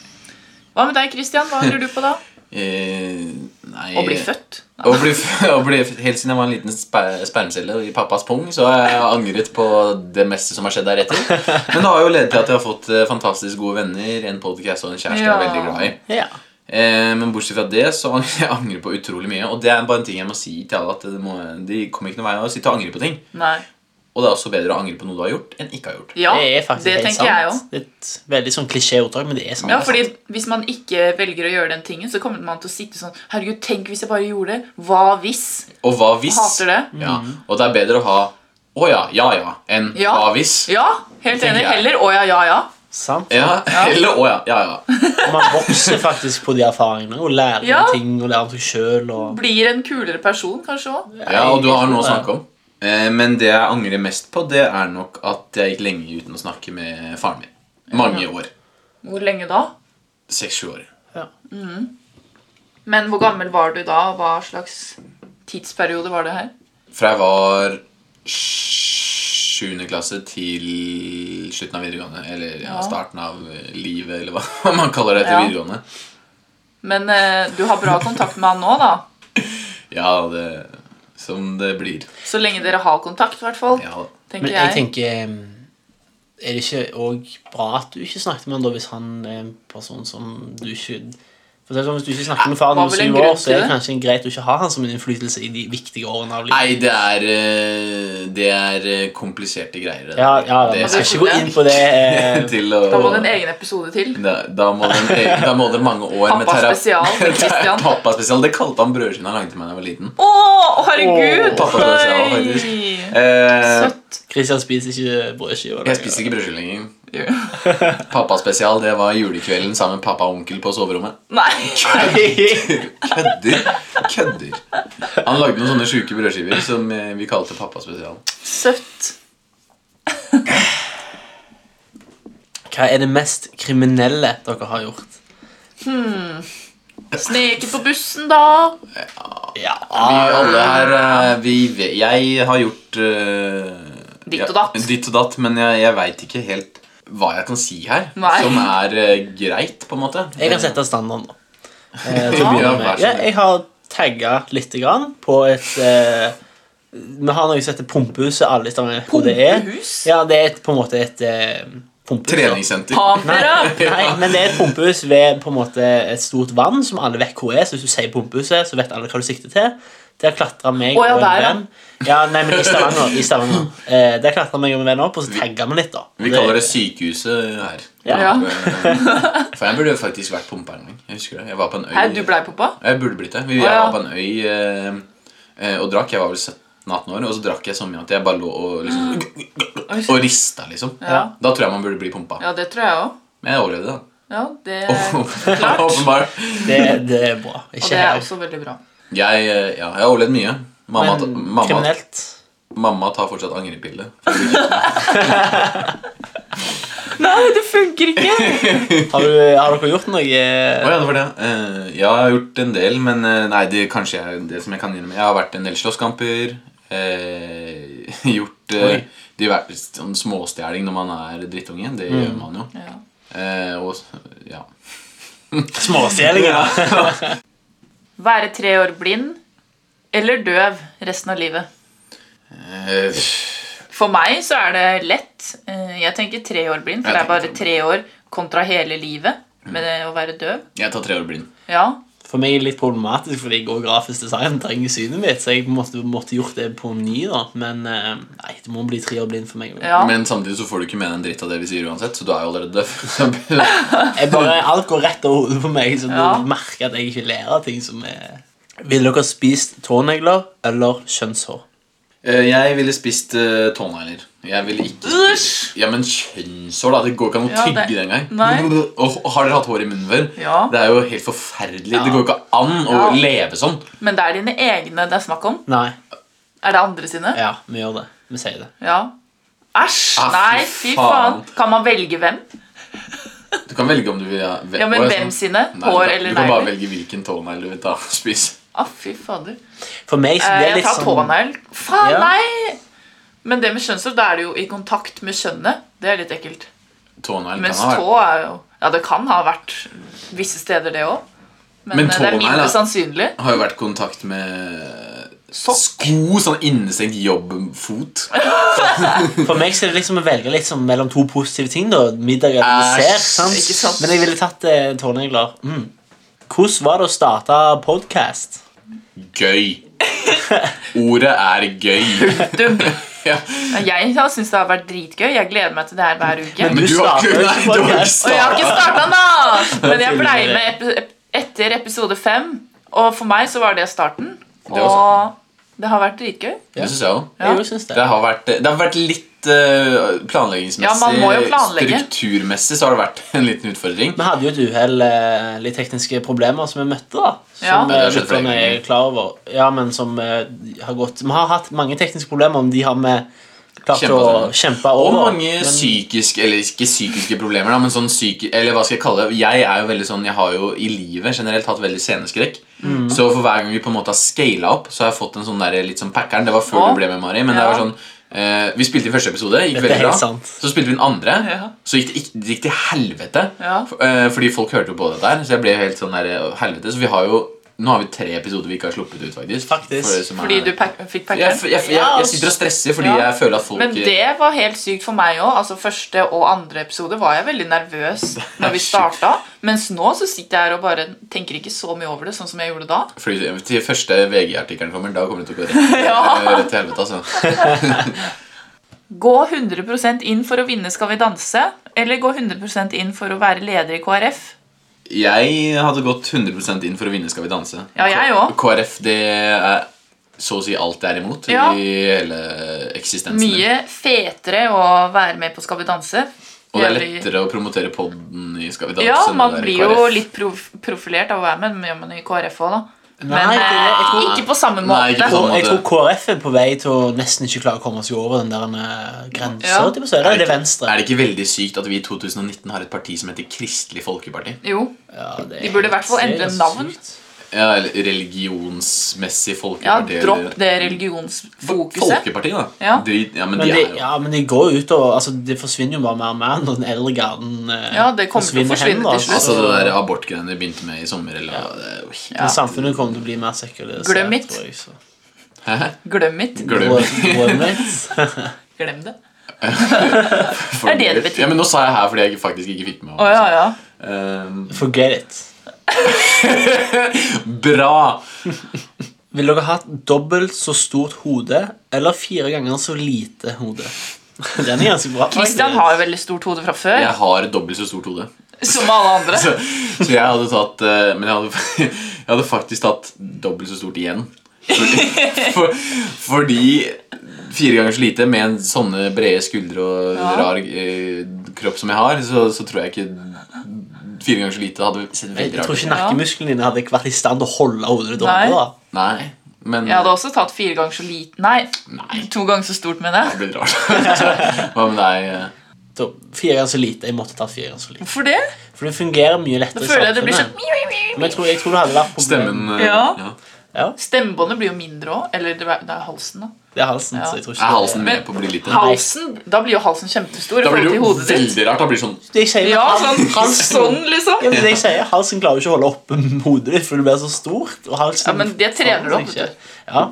Hva med deg, Christian? Hva angrer du på da?
Eh, nei
Å bli født?
Å bli, f- [laughs] å bli, f- helt siden jeg var en liten sper spermcelle i pappas pung, så har jeg angret på det meste som har skjedd deretter. Men det har jo ledet til at jeg har fått eh, fantastisk gode venner, en podcast og en kjæreste jeg er
Ja.
veldig glad i.
Ja.
Eh, men bortsett fra det, så angrer [laughs] jeg angrer på utrolig mye. Og det er bare en ting jeg må si til alle, at det må, de kommer ikke noen vei av å sitte og angre på ting.
Nei.
Og det er også bedre å angre på noe du har gjort, enn ikke har gjort.
Ja,
det er faktisk
det
helt
tenker jeg òg.
sant. Det er et veldig sånn klisjéordtak, men det er sant.
Ja, fordi Hvis man ikke velger å gjøre den tingen, så kommer man til å sitte sånn Herregud, tenk hvis jeg bare gjorde det. Hva hvis?
Og hva hvis?
Hater det.
Ja. Og det er bedre å ha å ja, ja ja, enn
Ja.
hva hvis.
Ja, helt
Tenker
enig.
jeg.
Heller å ja, ja, ja.
Sant.
Ja, [laughs] eller å ja, ja ja.
Og Man vokser faktisk på de erfaringene og lærer om
Ja.
ting og lærer om seg sjøl. Og...
Blir en kulere person, kanskje òg.
ja. Og du har noe å snakke om. Eh, men det jeg angrer mest på, det er nok at jeg gikk lenge uten å snakke med faren min. Mange år.
Hvor lenge da?
Seks-sju år.
Ja.
Men hvor gammel var du da, og hva slags tidsperiode var det her?
Fra jeg var sjuende klasse til slutten av videregående. Eller ja,
Ja.
starten av eh, livet, eller hva [laughs] man kaller det etter
Ja.
videregående.
Men eh, du har bra kontakt med han nå, da.
Ja, det Som det blir.
Så lenge dere har kontakt, i hvert fall.
Ja,
Tenker
Men jeg
jeg.
tenker eh, Er det ikke òg bra at du ikke snakket med han da, hvis han er en person som du ikke for det er sånn, Hvis du ikke snakker med faren
Var
om
vel en
syv
grunn
år, så er
til
det
det?
kanskje en greit å ikke ha han som en innflytelse i de viktige årene av livet.
Nei, det er eh, Det er eh, kompliserte greier. det
Ja,
der.
ja,
Det-
Man skal ikke gå inn på det. eh,
[laughs] til å
Da må det en egen episode til.
Da, da, må det en egen- da må det mange år med
Pappa
terapi.
spesial
[laughs]
med Christian.
Pappa spesial. Det kalte han brødskiva han lagde til meg da jeg var liten.
Å, herregud!
Pappa spesial,
Oi.
faktisk. Eh,
Søtt.
Christian spiser ikke brødskiver.
jeg spiser ikke brødskive lenger.
Jo.
[laughs] Pappa spesial, det var julekvelden sammen med pappa og onkel på soverommet.
Nei.
Kødder! Kødder. Han lagde noen sånne sjuke brødskiver som eh, vi kalte pappa spesial.
Søtt.
[laughs] Hva er det mest kriminelle dere har gjort?
Sneket på bussen, da.
Ja,
Vi alle her eh, vi, ve- Jeg har gjort eh,
Ditt og datt.
ja, ditt og datt, men jeg, jeg veit ikke helt hva jeg kan si her
Nei.
som er eh, greit, på en måte.
Jeg kan sette
[laughs]
standarden, da. Eh, til å
Ja,
begynne
vær
med.
så
ja,
snill.
jeg har tagga lite grann på et eh, Vi har noe som heter Pumpehuset. alle i Stavanger vet hvor det er.
Pumpehus?
Ja, det er et, på en måte et eh, pumpehus. da.
Treningssenter.
Nei,
Pampera.
nei, men det er et pumpehus ved på en måte et stort vann som alle vet hvor er. Så hvis du sier pumpehuset, så vet alle hva du sikter til. Der klatra meg
Å, ja,
og en
der, ja.
venn ja, nei, men i Stavanger. I Stavanger. Eh, der klatra meg og en venn opp, og så tagga vi litt, da.
Vi kaller det sykehuset her.
Ja.
Ja.
[laughs] For jeg burde faktisk vært pumper en gang. Jeg husker det. Jeg var på en øy.
Hei, du blei pappa?
Jeg burde blitt det. Vi-
Å,
Jeg
ja.
var på en øy eh, eh, og drakk. Jeg var vel 17-18 år, og så drakk jeg så mye at jeg bare lå og liksom Og rista, liksom.
Ja.
Da tror jeg man burde bli pumpa.
Mm. Ja, det tror jeg òg.
Men jeg overlevde, da.
Ja, det
[laughs]
klart.
Åpenbart.
Det, det er bra.
Og
Ikke
det er
her.
også veldig bra.
Jeg, eh, ja, jeg har overlevd mye. Mamma, ta-
Men
mamma,
kriminelt.
mamma tar fortsatt angrepille.
Nei, det funker ikke!
Har, du, eh, har dere gjort noe
Å ja, det var det. Eh, ja, jeg har gjort en del, men eh, nei, det kanskje jeg, det som jeg kan innrømme. Jeg har vært en del slåsskamper. eh, [laughs] gjort
Oi.
eh, diverse sånn småstjeling når man er drittunge. Det gjør man jo.
[laughs] Ja.
Eh, og ja.
Småstjelinger.
Være tre år blind eller døv resten av livet.
[laughs] Eh,
For meg så er det lett. Eh, Jeg tenker tre år blind, for
Jeg
det er bare
tenker
tre år kontra hele livet med det å være døv.
jeg tar tre år blind.
Ja,
For meg er det litt problematisk, fordi jeg går grafisk design. trenger synet mitt, Så jeg måtte, måtte gjort det på ny, da. Men eh, nei, det må bli tre år blind for meg.
ja.
Men samtidig så får du ikke mene en dritt av det vi sier uansett, så du er jo allerede døv.
Jeg bare, Alt går rett over hodet på meg, så
Ja.
du merker at jeg ikke lærer ting som er Ville dere spist tånegler eller kjønnshår?
[laughs] Eh, jeg ville spist uh, tånegler. Jeg ville ikke
Æsj!
Ja, men kjønnshår, da. Det går ikke an å
Ja,
tygge
det-
det engang.
Nei.
[laughs] Og Har dere hatt hår i munnen før?
Ja.
Det er jo helt forferdelig. Det går ikke an å
Ja.
leve sånn.
Men det er dine egne det er snakk om.
Nei.
Er det andre sine?
Ja, vi gjør det. Vi sier det.
Ja. Æsj!
Ah, fy
Nei, fy faen.
faen.
Kan man velge hvem?
Du kan velge om du vil ha ve-
Ja, men
hår,
hvem
sånn.
sine?
Nei,
Hår
da-
eller
Du kan bare
negler?
velge hvilken tånegl du vil ta [laughs] og spise.
Å, fy fader.
For meg så
Eh,
blir det
Jeg
litt
tar
sånn
tånegl. Faen,
Ja.
nei! Men det med kjønnshår, da er det jo i kontakt med kjønnet. Det er litt ekkelt.
Tånegl kan
Mens
ha vært
tå er jo Ja, det kan ha vært visse steder, det òg. Men,
Men
eh, det er
tånegl,
mindre
da.
sannsynlig.
Har jo vært i kontakt med
Sokk.
sko, sånn innestengt jobbfot.
For meg så er det liksom å velge liksom mellom to positive ting. da Middag eller
Æsj,
dessert. Sant?
ikke sant?
Men jeg ville tatt eh, tånegler. Mm. Hvordan var det å starte podkast?
[laughs]
Gøy. Ordet er gøy.
Dum.
[laughs] Ja.
Jeg syns det har vært dritgøy. Jeg gleder meg til det her hver uke.
Men
Du
du, har ikke,
starter jo ikke
nei, du har ikke
podcast.
Og jeg har ikke
starta.
starta den, [laughs] da! Men jeg blei
tidligere.
med epi ep- etter episode fem. Og for meg så var det starten.
var
Og det har vært dritgøy.
Det syns jeg òg.
Ja.
Jeg syns
Det
det.
har vært, det har vært litt eh, planleggingsmessig
Ja, man må jo planlegge.
Strukturmessig så har det vært en liten utfordring.
Vi hadde jo et uhell, eh, litt tekniske problemer som vi møtte. da
Ja.
Som
Det
har
eh,
skjedd flere
lytterne er
ganger.
klar over. Ja, men som eh, har gått Vi har hatt mange tekniske problemer, om de har vi klart
Kjempa
å
sammen.
kjempe
Altså, Og
over.
mange psykiske Eller ikke psykiske problemer, da, men sånn psyki, Eller hva skal jeg kalle det? Jeg er jo veldig sånn Jeg har jo i livet generelt hatt veldig sceneskrekk.
Mm.
Så for hver gang vi på en måte har scala opp, så har jeg fått en sånn der, litt sånn packeren. Det var før
Å.
du ble med, Mari. Men det
Ja.
var sånn eh, Vi spilte i første episode, gikk
Dette er
veldig bra.
helt sant.
Så spilte vi den andre,
Ja.
så gikk det, ikk- det gikk til helvete.
Ja.
F- eh, fordi folk hørte jo på dette her, så jeg ble jo helt sånn der eh, Helvete. Så vi har jo Nå har vi tre episoder vi ikke har sluppet ut, faktisk.
Faktisk.
For det som er-
Fordi du pack
jeg,
fikk packeren.
jeg, jeg, jeg, jeg sitter og stresser fordi
Ja.
jeg føler at folk
Men det var helt sykt for meg òg. Altså, første og andre episode var jeg veldig nervøs når [laughs] vi starta. Mens nå så sitter jeg her og bare tenker ikke så mye over det, sånn som jeg gjorde da.
Fordi til første VG-artikkelen kommer, da kommer det til å gå
[laughs]
rett, [laughs] rett til helvete. altså.
Gå 100 inn for å vinne Skal vi danse, eller gå 100 inn for å være leder i KrF?
Jeg hadde gått 100 inn for å vinne Skal vi danse.
Ja, jeg også.
KrF det er så å si alt det er imot
Ja.
i hele eksistensen. min.
Mye fetere å være med på Skal vi danse.
Og det er
Jævlig-
lettere å promotere podden i Skal vi danse.
Ja,
enn
man
det er i
blir
KrF.
jo litt prof profilert av å være med, men gjør man i KrF òg, da. Men
Nei, det- jeg
eh,
tror-
ikke på samme
Nei, ikke
måte.
på samme
Og jeg tror
måte.
KrF er på vei til å nesten ikke klare å komme seg over den der eh, grensa.
Ja.
Ja. Det
Er
er
det,
det
ikke,
venstre.
er det ikke veldig sykt at vi i 2019 har et parti som heter Kristelig Folkeparti?
Jo,
Ja, det er
De burde i hvert fall
helt
endre
sykt.
navn.
Ja, eller Religionsmessig
ja,
folkeparti.
Dropp
eller-
det religionsfokuset.
Folkeparti, da.
Ja.
De, ja, men
Men
de
det,
er jo
ja, men de går jo utover altså, Det forsvinner jo bare mer og mer når den eldre garden eh,
Ja, det kommer til å forsvinne til
altså.
slutt.
Altså det der abortgreiene de begynte med i sommer eller det er jo helt-
Men samfunnet kommer til å bli mer sekularisert.
Glem it.
tror jeg, så.
Hæ?
Glem it.
Glem
Glem it.
Glem det.
For-
det det betyr?
Ja, men nå sa jeg her fordi jeg faktisk ikke fikk med meg
Å ja, ja.
Ehm,
Forget it.
Bra!
Vil dere ha dobbelt så stort hode eller fire ganger så lite hode? Den er ganske bra.
[laughs] Christian har jo veldig stort hode fra før,
Jeg har dobbelt så stort hode.
[laughs]
[laughs]
som alle andre.
Så, så jeg hadde tatt eh, Men jeg hadde, [laughs] jeg hadde faktisk tatt dobbelt så stort igjen. Fordi, [laughs] for, fordi fire ganger så lite med en sånne brede skuldre og
Ja.
rar eh, kropp som jeg har, så, så tror jeg ikke fire ganger så lite hadde sett veldig
Jeg tror
rart
ikke nakkemusklene dine hadde ikke vært i stand til å holde hodet ditt
Nei.
oppe. da
Nei, men
Jeg hadde også tatt fire ganger så liten Nei,
Nei,
to ganger så stort, mener
det
jeg.
blir rart. [laughs] Så, Hva med deg? eh?
Da, Fire ganger så lite. Jeg måtte tatt fire ganger så lite.
Hvorfor det?
For det fungerer mye
Da
lettere i
føler jeg det blir sånn
samfunnet. Men jeg tror, jeg tror det hadde vært problem.
Stemmen eh,
Ja.
Ja,
Stemmebåndet blir jo mindre òg. Eller det er, det er halsen, da.
det er halsen.
Ja.
Så jeg tror ikke
Er halsen
Men-
med på å bli liten?
Halsen, Da blir jo halsen kjempestor i
Da blir
forhold
det
til
jo
hodet ditt.
veldig rart. Da blir det sånn
Det jeg sier,
Ja,
hal-
[laughs]
sånn,
halsen-
sånn liksom.
Ja, men det jeg sier, Halsen klarer jo ikke å holde oppe hodet ditt, for det blir så stort. Og halsen,
Ja, men det trener du opp,
ikke. Ja.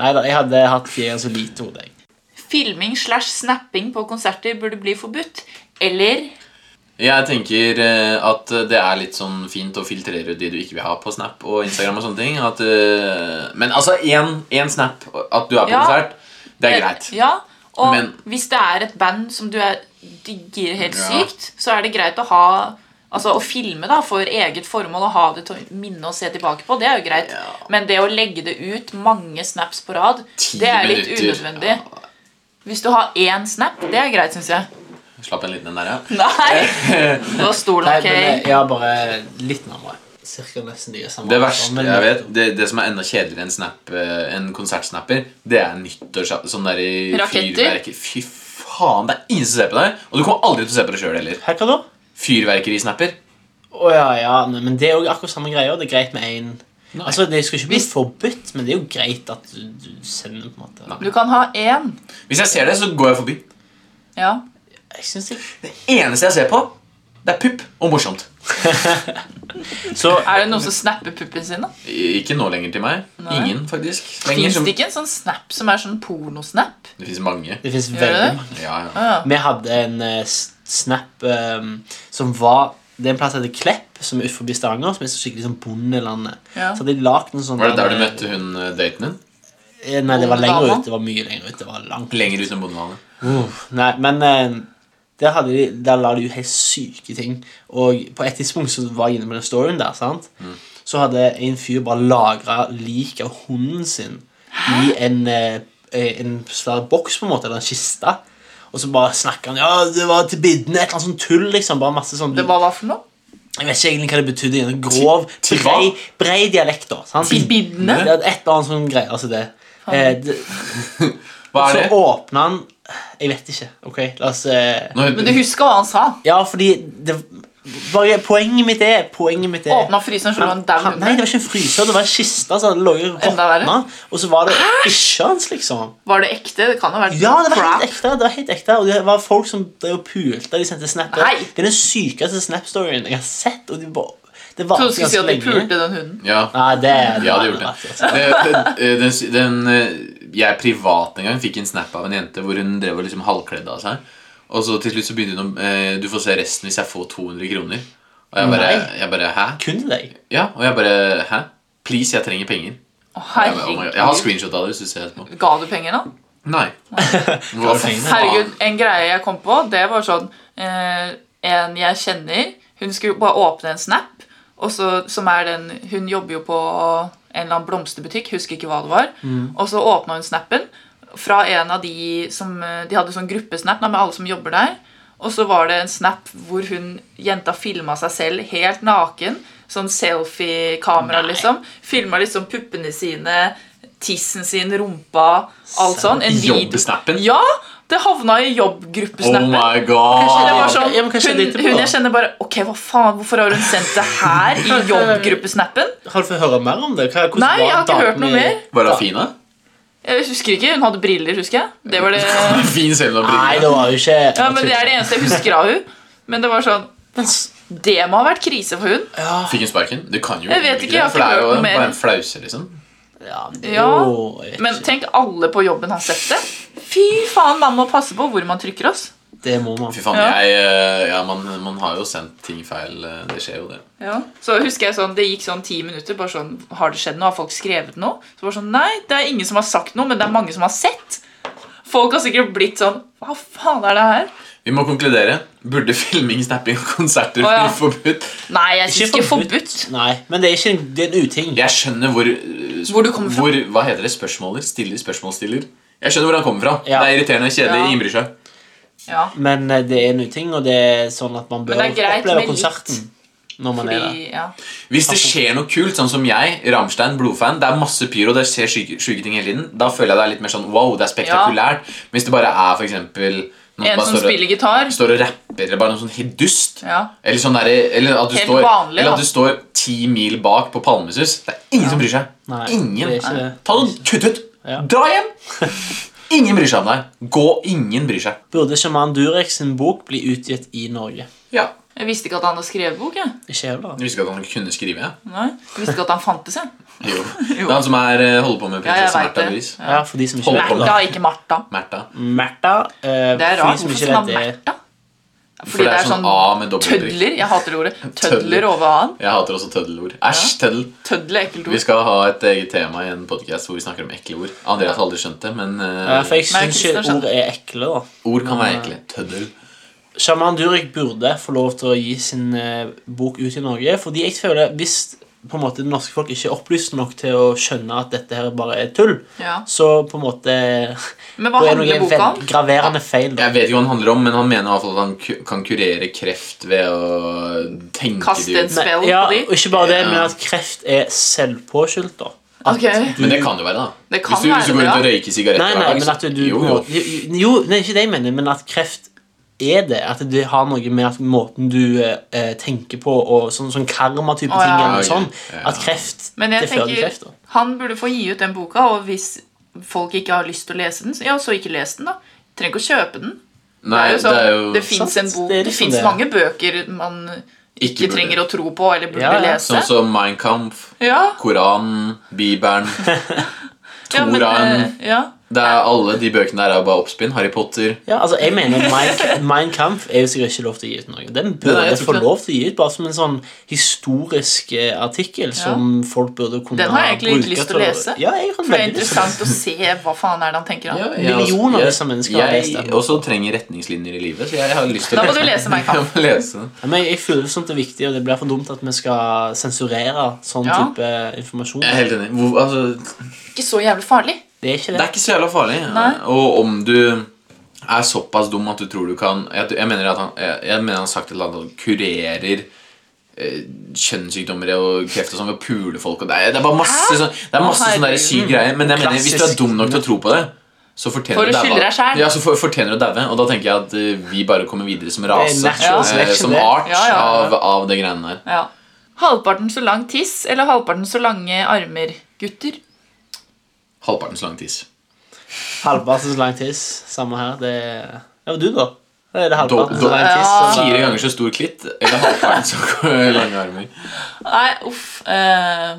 Nei da, jeg hadde hatt fire ganger så lite hode. jeg.
Filming slash snapping på konserter burde bli forbudt. Eller
Jeg tenker eh, at det er litt sånn fint å filtrere ut de du ikke vil ha på Snap og Instagram. og sånne ting at, eh, Men altså, én, én Snap at du er på
Ja.
konsert, det er greit.
Ja, og
Men-
hvis det er et band som du er, digger helt
Ja.
sykt, så er det greit å ha Altså Å filme da, for eget formål og ha det til å minne og se tilbake på, det er jo greit.
Ja.
Men det å legge det ut mange snaps på rad,
Ti
det er litt
minutter.
unødvendig. Hvis du har én snap, det er greit,
[laughs]
syns jeg.
Slapp en liten en der, ja.
Nei!
[laughs]
Nå er stolen
Nei,
ok.
men
eh,
jeg- jeg har bare litt nærmere. Cirka nesten de samme.
Det verste
Men-
jeg vet, det, det som er enda kjedeligere enn snap, eh, en konsertsnapper, det er nyttårs... Sånn der i
Raketter.
fyrverkeri. Fy faen, det er ingen som ser på deg! Og du kommer aldri til å se på det sjøl heller.
Hva da?
Fyrverkerisnapper.
Å ja, ja. Nei, men det er jo akkurat samme greia. Det er greit med én. Altså, det skal ikke bli forbudt, men det er jo greit at du, du sender på en måte.
Nei.
Du kan ha én.
Hvis jeg ser det, så går jeg forbi.
Ja.
Jeg synes ikke.
Eneste jeg ser på, det er pupp og morsomt.
Så
Er det noen som snapper puppen sin, da?
Ikke nå lenger til meg.
Nei.
Ingen, faktisk. Lenger,
Fins
som,
det ikke en sånn snap som er sånn pornosnap?
det fins mange.
det fins
Gjør
veldig
det?
mange.
Ja, ja.
Ah,
Vi hadde en eh, s- snap eh, som var Det er en plass som heter Klepp, som er utenfor Stavanger. Som er så skikkelig sånn bondelandet.
Ja.
Så hadde de lagt en sånn
Var det der du
eh,
møtte hun eh, daten din?
eh, Nei, det var lenger
Bondedama?
ut. Det var mye lenger ut. Det var langt.
Lenger utenom bondelandet.
Uh, nei, men eh, der, hadde de, der la de jo helt syke ting. Og på et tidspunkt så var jeg inne på den storyen der. sant?
Mm.
Så hadde en fyr bare lagra lik av hunden sin i en, eh, eh, en svær boks, på en måte, eller en kiste. Og så bare snakker han ja, det var til bidden, et eller annet sånn tull. liksom, bare masse sånn...
Det var hva for noe?
Jeg vet ikke egentlig hva det betydde. En grov,
til hva?
brei, brei dialekt. da, sant?
Til bidene?
Ja, Et eller annet sånn greie. altså det. Eh, det
Hva er
så
det?
åpna han Jeg vet ikke. ok, la oss... Eh,
Nå,
Men du husker hva han sa?
ja, fordi det, bare, Poenget mitt er Poenget mitt er
Åpna fryseren, så lå en daud
han, Nei, det
under.
var ikke en fryser, det var en kiste. Så det lå jo
Enda verre.
råtna, og så var det ikke hans, liksom.
Var det ekte? Det kan ha vært
Ja, det var helt
crap.
ekte. det var helt ekte Og det var folk som drev og pulte. De sendte snapper.
Nei.
Det er den sykeste snap-storyen jeg har sett. Og de bare, det var
Trodde du skulle si at de pulte den hunden.
Ja.
Nei, det, det
Jeg hadde
var
Ah,
gjort det.
rett, altså.
Det- det- Den, den, eh, jeg privat en gang fikk en snap av en jente hvor hun drev og liksom halvkledde av seg. Og så til slutt så begynte hun å eh, Du får se resten hvis jeg får 200 kroner. Og jeg bare,
Nei.
jeg bare Hæ?
Kun til deg.
Ja, og jeg bare Hæ? Please, jeg trenger penger.
Å,
Jeg, bare, oh my God. jeg har
herregud.
screenshot av det hvis du ser etterpå.
Ga du penger, da?
Nei. Hva faen?
Herregud, en greie jeg kom på, det var sånn eh, En jeg kjenner, hun skulle bare åpne en snap, og så, som er den Hun jobber jo på en eller annen blomsterbutikk, husker ikke hva det var. Og så åpna hun snappen fra en av de som eh, De hadde sånn gruppesnap da, med alle som jobber der. Og så var det en snap hvor hun jenta filma seg selv helt naken. Sånn selfie-kamera, liksom. Filma liksom puppene sine, tissen sin, rumpa, alt sånn. En video.
Jobbsnappen?
Ja! Det havna i
Oh
jobbgruppesnappen.
my
Det var
god!
sånn,
Ja, men kanskje
hun,
det er litt
hun
bra.
jeg kjenner bare Ok, hva faen, hvorfor har hun sendt det
[laughs]
her i jobbgruppesnappen?
Har du fått høre mer om det? Hva, hvordan
Nei, jeg har
var
ikke hørt noe
dagen i-
mer.
Var hun fin, da?
Jeg husker ikke, Hun hadde briller, husker jeg. Det var det
[laughs] Fin selv om hun har
Nei,
briller.
det var jo ikke
Ja, men Det er det eneste jeg husker av hun Men det var sånn Det må ha vært krise for hun
Ja,
Fikk hun sparken? Du kan jo
Jeg vet ikke, jeg har
det, for det er
ikke hørt
jo
noe mer.
bare en flause, liksom.
ja, men det er
Ja,
jo- jeg vet
Men
ikke.
tenk, alle på jobben har sett det. Fy faen, man må passe på hvor man trykker oss.
Det må man.
Fy faen,
Ja.
jeg eh, Ja, man, man har jo sendt ting feil. eh, Det skjer jo, det.
Ja. Så husker jeg sånn, Det gikk sånn ti minutter. bare sånn, Har det skjedd noe? Har folk skrevet noe? Så bare sånn, Nei, det er ingen som har sagt noe, men det er mange som har sett. Folk har sikkert blitt sånn Hva faen er det her?
Vi må konkludere. Burde filming, snapping og konserter
Å, ja.
bli forbudt?
Nei, jeg syns ikke forbudt.
Nei, men det er ikke en, det er en uting.
Jeg skjønner hvor eh,
Hvor du kommer fra.
Hvor, hva heter det? Spørsmåler? Stiller spørsmålsstiller? Jeg skjønner hvor han kommer fra.
Ja.
Det er irriterende, kjedelig,
Ja.
ingen bryr seg.
Ja,
Men eh, det er en uting, og det er sånn at man bør
Men det er greit
oppleve
med litt.
konserten når man er der.
fordi, ja.
Hvis det skjer noe kult, sånn som jeg, Rammstein, blodfan, det er masse pyro, det skjer syke, syke ting hele tiden, da føler jeg det er litt mer sånn wow, det er spektakulært. Men hvis det bare er for eksempel noen
En
bare
som
står og-
spiller gitar.
står og rapper, eller bare noe sånn helt dust.
Ja.
Eller, sånn derre- eller at du
Helt
står
vanlig,
Eller
da.
at du står ti mil bak på Palmesus. Det er ingen som bryr seg.
Nei,
ingen.
det er ikke det.
Ta det, Kutt ut!
Ja.
Dra hjem!
[laughs]
Ingen bryr seg om deg. Gå. Ingen bryr seg.
Burde sjaman Durek sin bok bli utgitt i Norge?
Ja.
Jeg visste ikke at han hadde skrevet bok. jeg.
Ikke heller.
Jeg visste ikke at han kunne skrive.
[laughs]
jeg.
Nei. Jeg visste ikke at han fantes. jeg.
Jo. Det er han som er, eh, holder på med
Ja, jeg
prinsessen
vet
Märtha
det.
Louise.
Ja, for de som ikke vet
Märtha,
det.
ikke Martha.
Märtha.
Märtha. eh,
Det er
for de
rart.
som
Hvorfor
ikke
skal han
vet
ha
det.
Märtha?
For det er sånn A med dobbelt prikk.
tødler. Jeg hater det ordet. Tødler over A-en.
Jeg hater også tøddelord. Æsj, tøddel.
Tøddel er ekkelt
Vi
ord.
skal ha et eget tema i en podkast hvor vi snakker om ekle ord. Andreas har aldri skjønt det, men eh,
Ja, for jeg
Nei,
syns
Kristian
ikke
skjønner.
ord er ekle, da.
ord kan være ekle. Tøddel.
Sjaman Durek burde få lov til å gi sin eh, bok ut i Norge. Fordi jeg føler Hvis på en måte det norske folk ikke er opplyst nok til å skjønne at dette her bare er tull,
Ja.
så på en måte
Men hva
da er
handler
noe
boka om?
vel- graverende feil. Da.
Jeg vet ikke hva han handler om, men han mener i hvert fall at han ku- kan kurere kreft ved å tenke
Kaste
det
en
ut.
s- Spell på
ja,
de?
og ikke bare det,
Ja.
men at kreft er selvpåskyldt. da At
Ok.
du-
Men det kan jo være, da.
Det kan
hvis, du, hvis du går
være det,
rundt og
ja.
røyker sigaretter
Nei,
hver
nei,
dag,
men
så-
at du
jo, jo.
jo, jo, nei, ikke det jeg mener, men at kreft er det. At det har noe med at måten du eh, tenker på, og sånn, sånn karma-type
Å, ja.
ting. Eller
Ah, Ja,
noe sånn,
ja, ja.
At kreft
Men jeg
det fører til
tenker
kreft. da.
han burde få gi ut den boka, og hvis folk ikke har lyst til å lese den, så- ja, så ikke les den, da. Trenger ikke å kjøpe den.
Nei,
det er jo sånn, det, fins
Sant,
en bok
det er
Det,
liksom
finnes
det.
mange bøker man ikke,
Ikke burde.
trenger å tro på eller burde
Ja, ja.
lese.
Sånn som Mein Kampf,
ja,
Koranen, Bibelen
ja, men,
Toraen.
eh, ja.
Det er Alle de bøkene der er jo bare oppspinn. Harry Potter.
Ja, altså jeg mener Mein, [laughs] Mein Kampf er jo sikkert ikke lov til å gi ut noe. Den
Nei,
burde
nei, jeg tror
få
ikke det.
lov til å gi ut bare som en sånn historisk eh, artikkel som folk burde kunne
Den har jeg egentlig ikke
bruke
lyst til å lese,
Ja, jeg har
For det er
veldig sånn. lyst til å lese.
interessant å se hva faen er det han tenker om.
jeg også-
Millioner
jeg-
av disse mennesker har lest
Jeg
den.
også trenger retningslinjer i livet, så jeg har lyst til
Da må du lese Mein
[laughs]
Kampf.
Jeg må lese den.
Ja, men jeg føler sånt er viktig, og det blir for dumt at vi skal sensurere sånn
Ja.
type informasjon.
Jeg er helt enig. Hvor, altså,
Ikke så jævlig farlig.
Det er ikke
det
det.
er ikke så jævla farlig.
Nei.
Og om du er såpass dum at du tror du kan Jeg, jeg mener at han jeg, jeg mener han har sagt et eller annet om kurerer eh, kjønnssykdommer og kreft og sånn ved å pule folk. Og det, er, det er bare masse sånn Det er masse
Å,
sånne der
herregud.
syke greier. Men jeg mener, hvis du er
Klassisk.
dum nok til å tro på det så
For
fortjener
å
du
skylde deg selv.
Ja, så for, fortjener du å daue. Og da tenker jeg at eh, vi bare kommer videre som rase.
natural
eh,
selection,
som
det.
art
Ja, ja.
Av, av det greiene der.
Ja. Halvparten så lang tiss eller halvparten så lange armer, gutter?
Halvparten så lang tiss.
Halvparten så lang tiss. Samme her. Det er Ja, og du, da? Da Er det halvparten
Do-
så
do-
lang tiss?
Ja.
så-
Fire ganger så stor klitt eller halvparten så [laughs] lange armer.
Nei, uff. eh,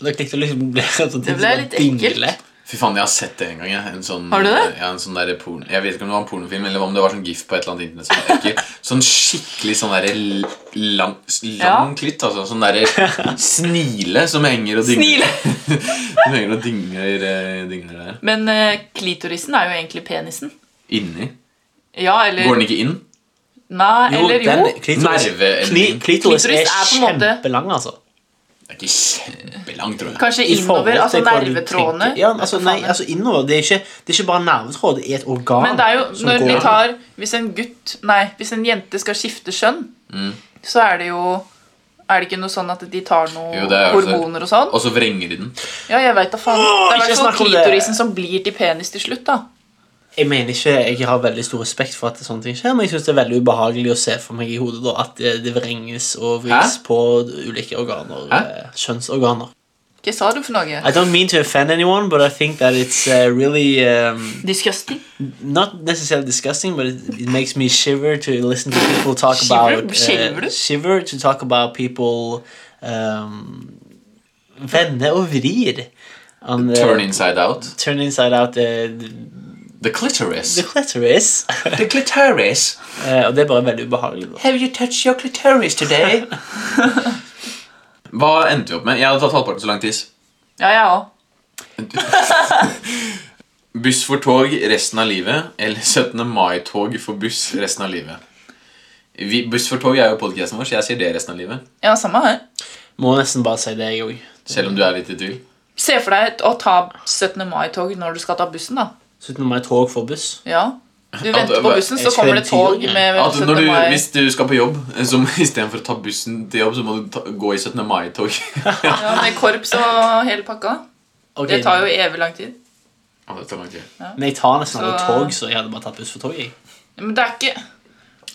Dere likte å liksom bli sånn
Det ble litt ekkelt.
Fy faen, jeg har sett det en gang. Jeg. En sånn,
Har du det?
Ja, en sånn der porn, jeg vet ikke om det var en pornofilm eller om det var sånn gif på et eller annet internett. Som var
[laughs]
ekkel. sånn skikkelig sånn der l- lang, s- lang
Ja.
klitt. Altså, sånn derre snile som henger og dingler. [laughs] som henger og dingler, eh, dingler der.
men eh, klitorisen er jo egentlig penisen.
Inni.
Ja, eller
Går den ikke inn?
Nei,
Jo,
eller jo.
den, klitoris,
Nerveendring.
kli, klitoris er
Klitoris er på en måte-
kjempelang, altså.
Det er ikke kjempelangt, tror jeg.
Kanskje
I forhold
innover,
til
altså
hva du
nervetrådene.
tenker. Ja, altså,
Hva
nei,
faen er det?
altså innover. Det er ikke, det er ikke bare nervetråd, det er et organ.
Men det er jo,
som
når vi
går-
tar Hvis en gutt, nei, hvis en jente skal skifte kjønn,
Mm.
så er det jo Er det ikke noe sånn at de tar noe
Jo, det er jo sånn.
hormoner og sånn?
Og så vrenger de den.
Ja, jeg vet da faen. Det er i
ikke
hvert fall
snakk om det.
klitorisen som blir til penis til slutt, da.
Jeg mener ikke, jeg har veldig stor respekt for at sånne ting skjer, men jeg synes det er veldig ubehagelig å se for meg i hodet da, at eh, det, det vrenges og vris
Hæ?
på ulike organer,
Hæ?
eh, kjønnsorganer.
Hva sa du for noe?
I don't mean to offend anyone, but I think that it's eh, really um,
Disgusting.
not necessarily disgusting, but it, it makes me shiver to listen to people talk
Shiver?
about
Shiver
eh,
du?
shiver to talk about people um, vende og vrir. on the-
Turn inside out.
turn inside out eh, the,
The clitoris.
The
[laughs]
clitoris.
The clitoris.
Eh, og det er bare veldig ubehagelig. da.
Have you touched your clitoris today? Hva endte vi opp med? Jeg hadde tatt halvparten så lang tiss.
Ja, jeg òg.
Buss for tog resten av livet, eller 17. mai-tog for buss resten av livet. Vi, buss for tog er jo podcasten vår, så jeg sier det resten av livet.
Ja, samme her.
Må nesten bare si det, jeg òg.
Selv om du er litt i tvil.
Se for deg å ta 17. mai-tog når du skal ta bussen, da.
17. mai tog for buss.
Ja. Du venter på bussen, så
Jeg
kommer det
skrev
tog
ti år, jeg.
med
At
17.
når du,
mai.
hvis du skal på jobb, eh, så må- istedenfor å ta bussen til jobb, så må du ta, gå i 17. mai-tog.
Ja, med korps og hele pakka.
Ok,
Det tar jo evig lang tid.
Å, det tar lang tid.
Men jeg tar nesten aldri
Så-
tog, så jeg hadde bare tatt buss for tog. jeg.
Men det er ikke,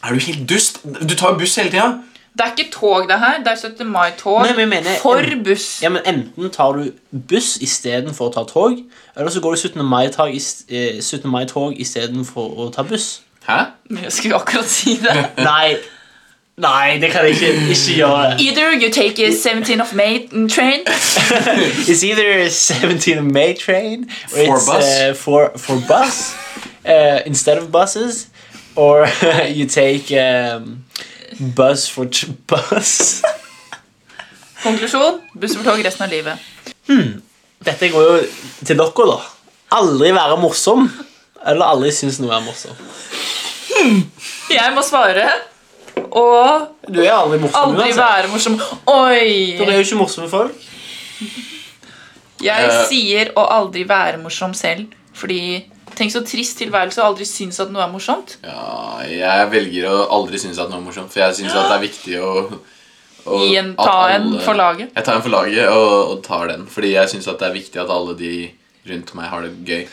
Er du helt dust? Du tar jo buss hele tida.
det er ikke tog, det her. Det er 17. mai-tog
Nei, men jeg mener-
for buss.
Ja, men Enten tar du buss istedenfor å ta tog, eller så går du 17. mai-tog i s- eh, 17. mai-tog istedenfor å ta buss.
Hæ?
Men Jeg skulle akkurat si det.
Nei. Nei, det kan jeg ikke, ikke gjøre.
[laughs] [laughs] Either you take a 17 of May train
It's either 17 May train or
For
it's
bus.
uh, for, for bus uh, instead of buses, or [laughs] you take um, bus for tr [laughs] bus.
Konklusjon buss for tog resten av livet.
Dette går jo til dere, da. Aldri være morsom. Eller aldri synes noe er morsom.
Jeg må svare og
Du er aldri morsom
aldri
uansett.
være morsom. Oi!
Dere er jo ikke morsomme folk.
Jeg
Eh.
sier å aldri være morsom selv. Fordi Tenk så trist tilværelse å aldri synes at noe er morsomt.
Ja, jeg velger å aldri synes at noe er morsomt, for jeg synes at det er viktig å, å
Gi en-
at
ta en for laget.
Jeg tar en for laget og, og tar den, fordi jeg synes at det er viktig at alle de rundt meg har det gøy.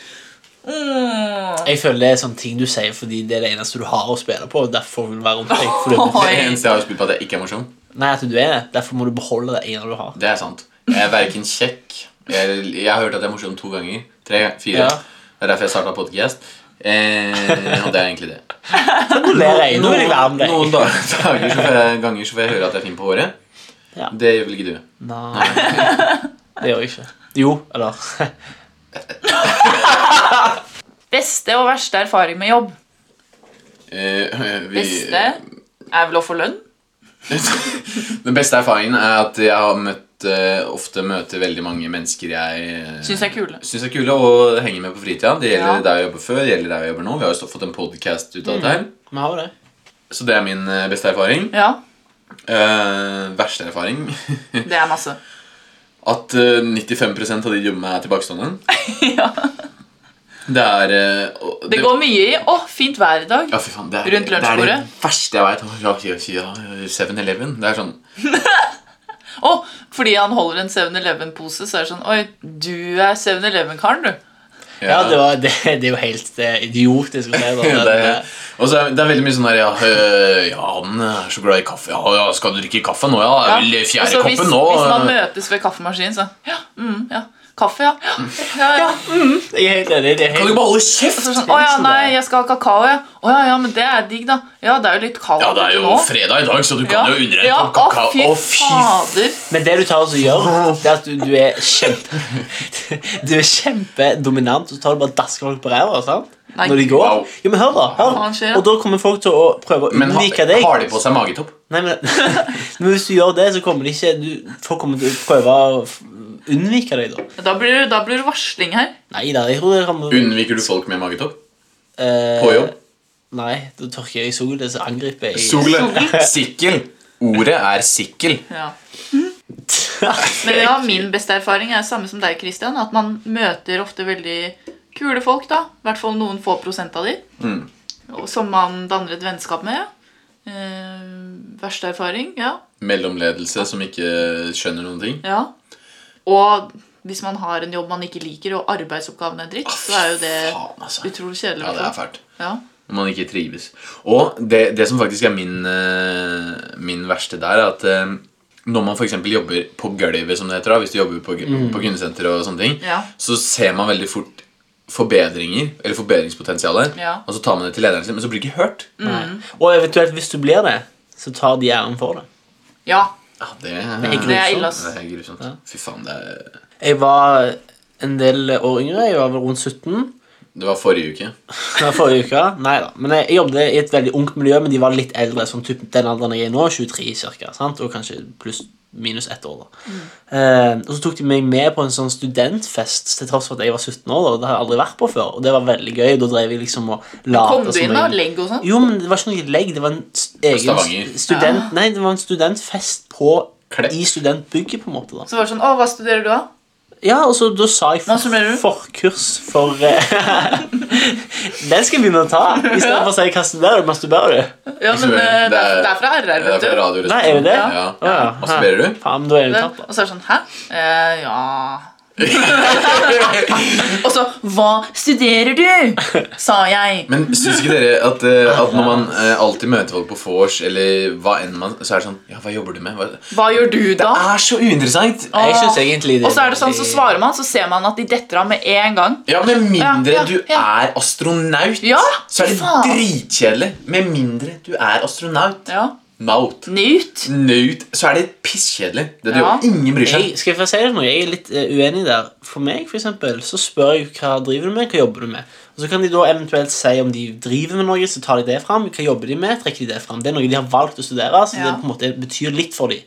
Mm.
Jeg føler det er sånne ting du sier fordi det er det eneste du har å spille på. og Derfor vil du være omtenkt. fordi du-
[laughs]
Det
Oi.
eneste jeg har spilt på at jeg ikke er morsom,
Nei, at du er det. Derfor må du beholde det ene du har.
det er sant. Jeg er verken kjekk Jeg, jeg har hørt at jeg er morsom to ganger. Tre, fire.
Ja.
Det er derfor jeg starta podkast. Eh, og det er egentlig det.
Nå ler jeg. Nå vil jeg være med deg.
noen dager, dager så får jeg, ganger så får jeg høre at jeg er fin på håret.
Ja.
Det gjør vel ikke du?
Nei, det gjør jeg ikke. Jo, eller [laughs]
Beste og verste erfaring med jobb.
Eh, vi-
Beste er vel å få lønn.
[laughs] Den beste erfaringen er at jeg har møtt eh, ofte møter veldig mange mennesker jeg eh,
Syns jeg er kule.
syns er kule og henger med på fritida. Det gjelder
Ja.
der jeg jobber før, det gjelder der jeg jobber nå. Vi har jo stå- fått en podkast ut av dette
Mm.
her.
Vi har jo det.
Så det er min eh, beste erfaring.
Ja,
Eh, verste erfaring [laughs]
det er masse.
at eh, 95 av de jobbene er tilbakestående.
[laughs] Ja.
Det er eh, og-
Det går mye i 'å, fint vær i dag'.
Ja, fy faen, det er,
Rundt
Det er
lunsjbordet.
det verste jeg veit. Ja, ja, ja, 7-Eleven. Det er sånn
Å, fordi han holder en 7-Eleven-pose, så er det sånn 'Oi, du er 7-Eleven-karen, du'.
Ja, det, var, det, det er jo helt eh, idiotisk å si [laughs] det.
Ja,
men,
[laughs] det,
eh,
er, og så er, det er veldig mye sånn der ja, øh, ja, han er så glad i kaffe. Ja, ja, skal du drikke kaffe nå? Ja, det er vel
Og så
fjerde
Altså, hvis,
koppen nå. eh.
hvis man møtes ved kaffemaskinen, så ja, mm, ja. Kaffe, ja. ja,
Mm.
ja, ja.
Jeg er helt enig. Det er
Kan du
helt,
ikke bare holde
Og
kjeft?
så er det sånn, Å ja, nei, jeg skal ha kakao, ja. Å ja, ja, men det er digg, da. Ja, det er jo litt kaldt
Ja, det er jo
nå.
fredag i dag, så du kan jo undre deg
ja,
på kakao.
Å, fy,
Å, fy f-
fader.
men det du tar og så gjør, det er at du, du er kjempe [laughs] Du er kjempedominant, og så tar du bare og dasker folk på ræva sant?
Nei.
når de går.
Wow.
Jo, men hør, da.
Faen,
Hør.
skjer det?
Og da kommer folk til å prøve å
Men ha,
unnvike deg.
har de på seg magetopp?
Nei, men, [laughs] men hvis du gjør det, så kommer de ikke du, Folk kommer til å prøve å f- unnvike deg, da.
Da blir, det- da blir det varsling her.
Nei da, jeg tror det rammer
Unnviker du folk med magetopp?
eh,
På jobb?
Nei, da tørker jeg i solen, så angriper
Eh,
jeg
Sole. [laughs] Sikkel. Ordet er sikkel.
Ja. Men ja, min beste erfaring er samme som deg, Christian. At man møter ofte veldig kule folk, da. I hvert fall noen få prosent av de.
Mm.
Og Som man danner et vennskap med. Ja. Eh, verste erfaring, ja.
Mellomledelse som ikke skjønner noen ting.
ja. Og hvis man har en jobb man ikke liker, og arbeidsoppgavene er dritt, så er jo det
Faen, altså.
utrolig kjedelig.
Ja, det er
hvertfall.
fælt.
Ja.
Når man ikke trives. Og det, det som faktisk er min, eh, min verste der, er at eh, når man f.eks. jobber på gulvet, som det heter, da, hvis du jobber på, gu- på kundesenter og sånne ting,
Ja.
så ser man veldig fort forbedringer, eller forbedringspotensialet,
Ja.
og så tar man det til lederen sin, men så blir det ikke hørt.
[laughs] Nei. Og eventuelt, hvis du blir det, så tar de æren for det.
ja.
Ja, det, er
Det er
Det er ille, ass.
Det er grusomt. Fy faen, det er
Jeg var en del år yngre, jeg var vel rundt 17.
Det var forrige uke.
Det var forrige uke. Nei da. Men jeg, jeg jobbet i et veldig ungt miljø, men de var litt eldre. Som typ den alderen jeg er i nå, 23 cirka, sant? og kanskje pluss minus ett år. da.
Mm.
Eh, og så tok de meg med på en sånn studentfest til tross for at jeg var 17 år. da, og Det har jeg aldri vært på før, og det var veldig gøy. Da drev jeg liksom og late
Kom du
som
inn
jeg-
med legg og sånn?
Jo, men det var ikke noe legg. Det var en s- egen
Stavanger.
s-
Ah.
student... Nei, det var en studentfest på
Klepp.
i studentbygget, på en måte. da.
Så var det sånn Å, hva studerer du, da?
Ja, og så da sa jeg
Hva summerer du?
forkurs for eh, [laughs] Den skal jeg begynne å ta. I stedet for å si hva studerer du? Masturberer du?
Ja, men eh, det er, det er fra RR,
Det er
vet
fra
du.
Radioresepsjonen.
Nei, er det det?
Ja.
Å, ja.
Masturberer du?
Faen, da er jeg jo tapt. da.
Og så er det sånn Hæ? Eh,
[laughs]
ja Og så Hva studerer du? sa jeg.
Men syns ikke dere at, eh, at når man eh, alltid møter folk på vors, eller hva enn man Så er det sånn Ja, hva jobber du med? Hva?
Hva gjør du da?
Det er så uinteressant!
Jeg synes egentlig det
Og så er det sånn, så svarer man, så ser man at de detter av med en gang.
Ja, Med mindre
Ja, ja,
du
ja.
er astronaut,
Ja,
så er det
faen.
dritkjedelig. Med mindre du er astronaut.
Ja.
Naut.
Nyt.
Naut. Så er det pisskjedelig. Det du
Ja.
gjør. Ingen bryr seg.
jeg, skal jeg få si det nå? Jeg er litt eh, uenig der. For meg, for eksempel, så spør jeg hva driver du med, hva jobber du med. Og Så kan de da eventuelt si om de driver med noe, så tar de det fram. Hva jobber de med, trekker de det fram. Det er noe de har valgt å studere, så det
Ja.
på en måte betyr litt for dem.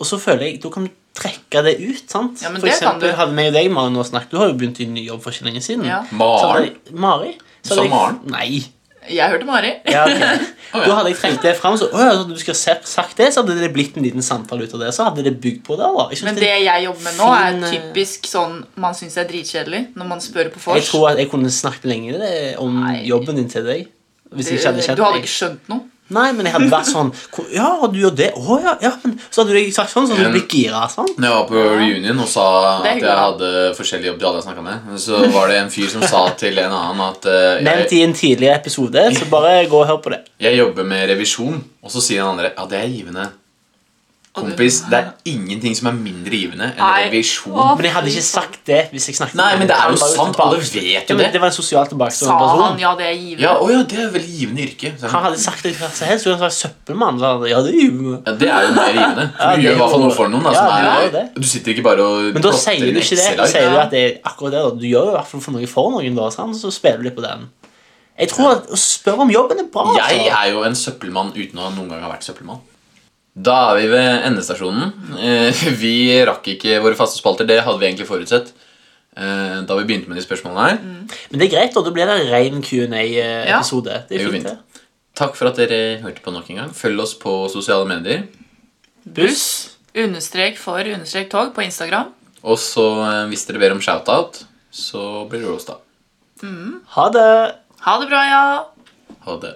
Og så føler jeg, da kan du trekke det ut, sant?
Ja, men
for
det kan
eksempel
du.
hadde vi og deg, Maren, og snakket, du har jo begynt i ny jobb for ikke lenge siden.
Ja.
Så hadde
Maren?
jeg- Mari? Så
Sa
hadde jeg-
Maren?
Nei.
Jeg hørte Mari.
[laughs]
Ja, ok. Da hadde jeg trukket det fram, så, «Å ja, så du skulle ha sagt det, så hadde det blitt en liten samtale ut av det, så hadde det bygd på det, da. Jeg synes
Men
det-
det jeg jobber med nå, er
Fin, eh,
typisk sånn man syns er dritkjedelig når man spør på
Jeg
vors.
tror at jeg kunne snakket lenger eh, om jobben din til deg. Hvis jeg ikke hadde kjent
Eh, Du hadde
deg.
ikke skjønt noe.
Nei, men jeg hadde vært sånn "Ko- Ja, og du gjør det? Å ja, ja, men Så hadde du sagt sånn, så hadde du
Men-
blitt gira. sånn
Når jeg var på reunion og sa
Det er
at jeg hadde forskjellig jobb, de alle jeg snakket med, så var det en fyr som
[laughs]
sa til en annen at eh, jeg,
Nevnt i en tidligere episode, så bare gå og hør på det.
Jeg jobber med revisjon, og så sier den andre Ja, det er givende. Kompis, det er ingenting som er mindre givende enn
Nei.
revisjon.
Åh.
Men jeg hadde ikke sagt det hvis jeg snakket
Nei, men det er jo
Han var
sant.
tilbake-
Alle vet
Ja,
jo
men
det.
Det var en sosialt tilbakestående
Sa han
person.
ja, det er givende?
Ja, å ja, det er et veldig givende yrke. Så jeg
Han [laughs]
sånn,
hadde sagt det hva som helst. Han var søppelmann. så hadde- Ja, det er jo
Ja, det er jo mer givende.
Ja,
For
det
du gjør
er
i hvert fall
jo-
noe for noen. Da,
Ja,
som
det
er,
er jo det.
Du sitter ikke bare og
Men da
plotter
sier
inn
du ikke det. Da
Excel-ark.
sier du
Ja.
at det er akkurat det. da Du gjør jo i hvert fall for noe for noen, da, sant? så spiller du litt på den. Jeg tror at Å spørre om jobben er bra.
Jeg
altså.
er jo en søppelmann uten å noen gang ha vært søppelmann. Da er vi ved endestasjonen. Eh, [laughs] Vi rakk ikke våre faste spalter. Det hadde vi egentlig forutsett eh, da vi begynte med de spørsmålene her.
Men det er greit, og da blir det ren Q&A-episode. eh, Det
Det
er
går
fint,
fint.
det.
Takk for at dere hørte på nok en gang. Følg oss på sosiale medier.
Buss.
Understrek for understrek tog på Instagram.
Og så eh, hvis dere ber om shout-out, så blir det roast, da.
Ha det.
Ha det bra, ja!
Ha det.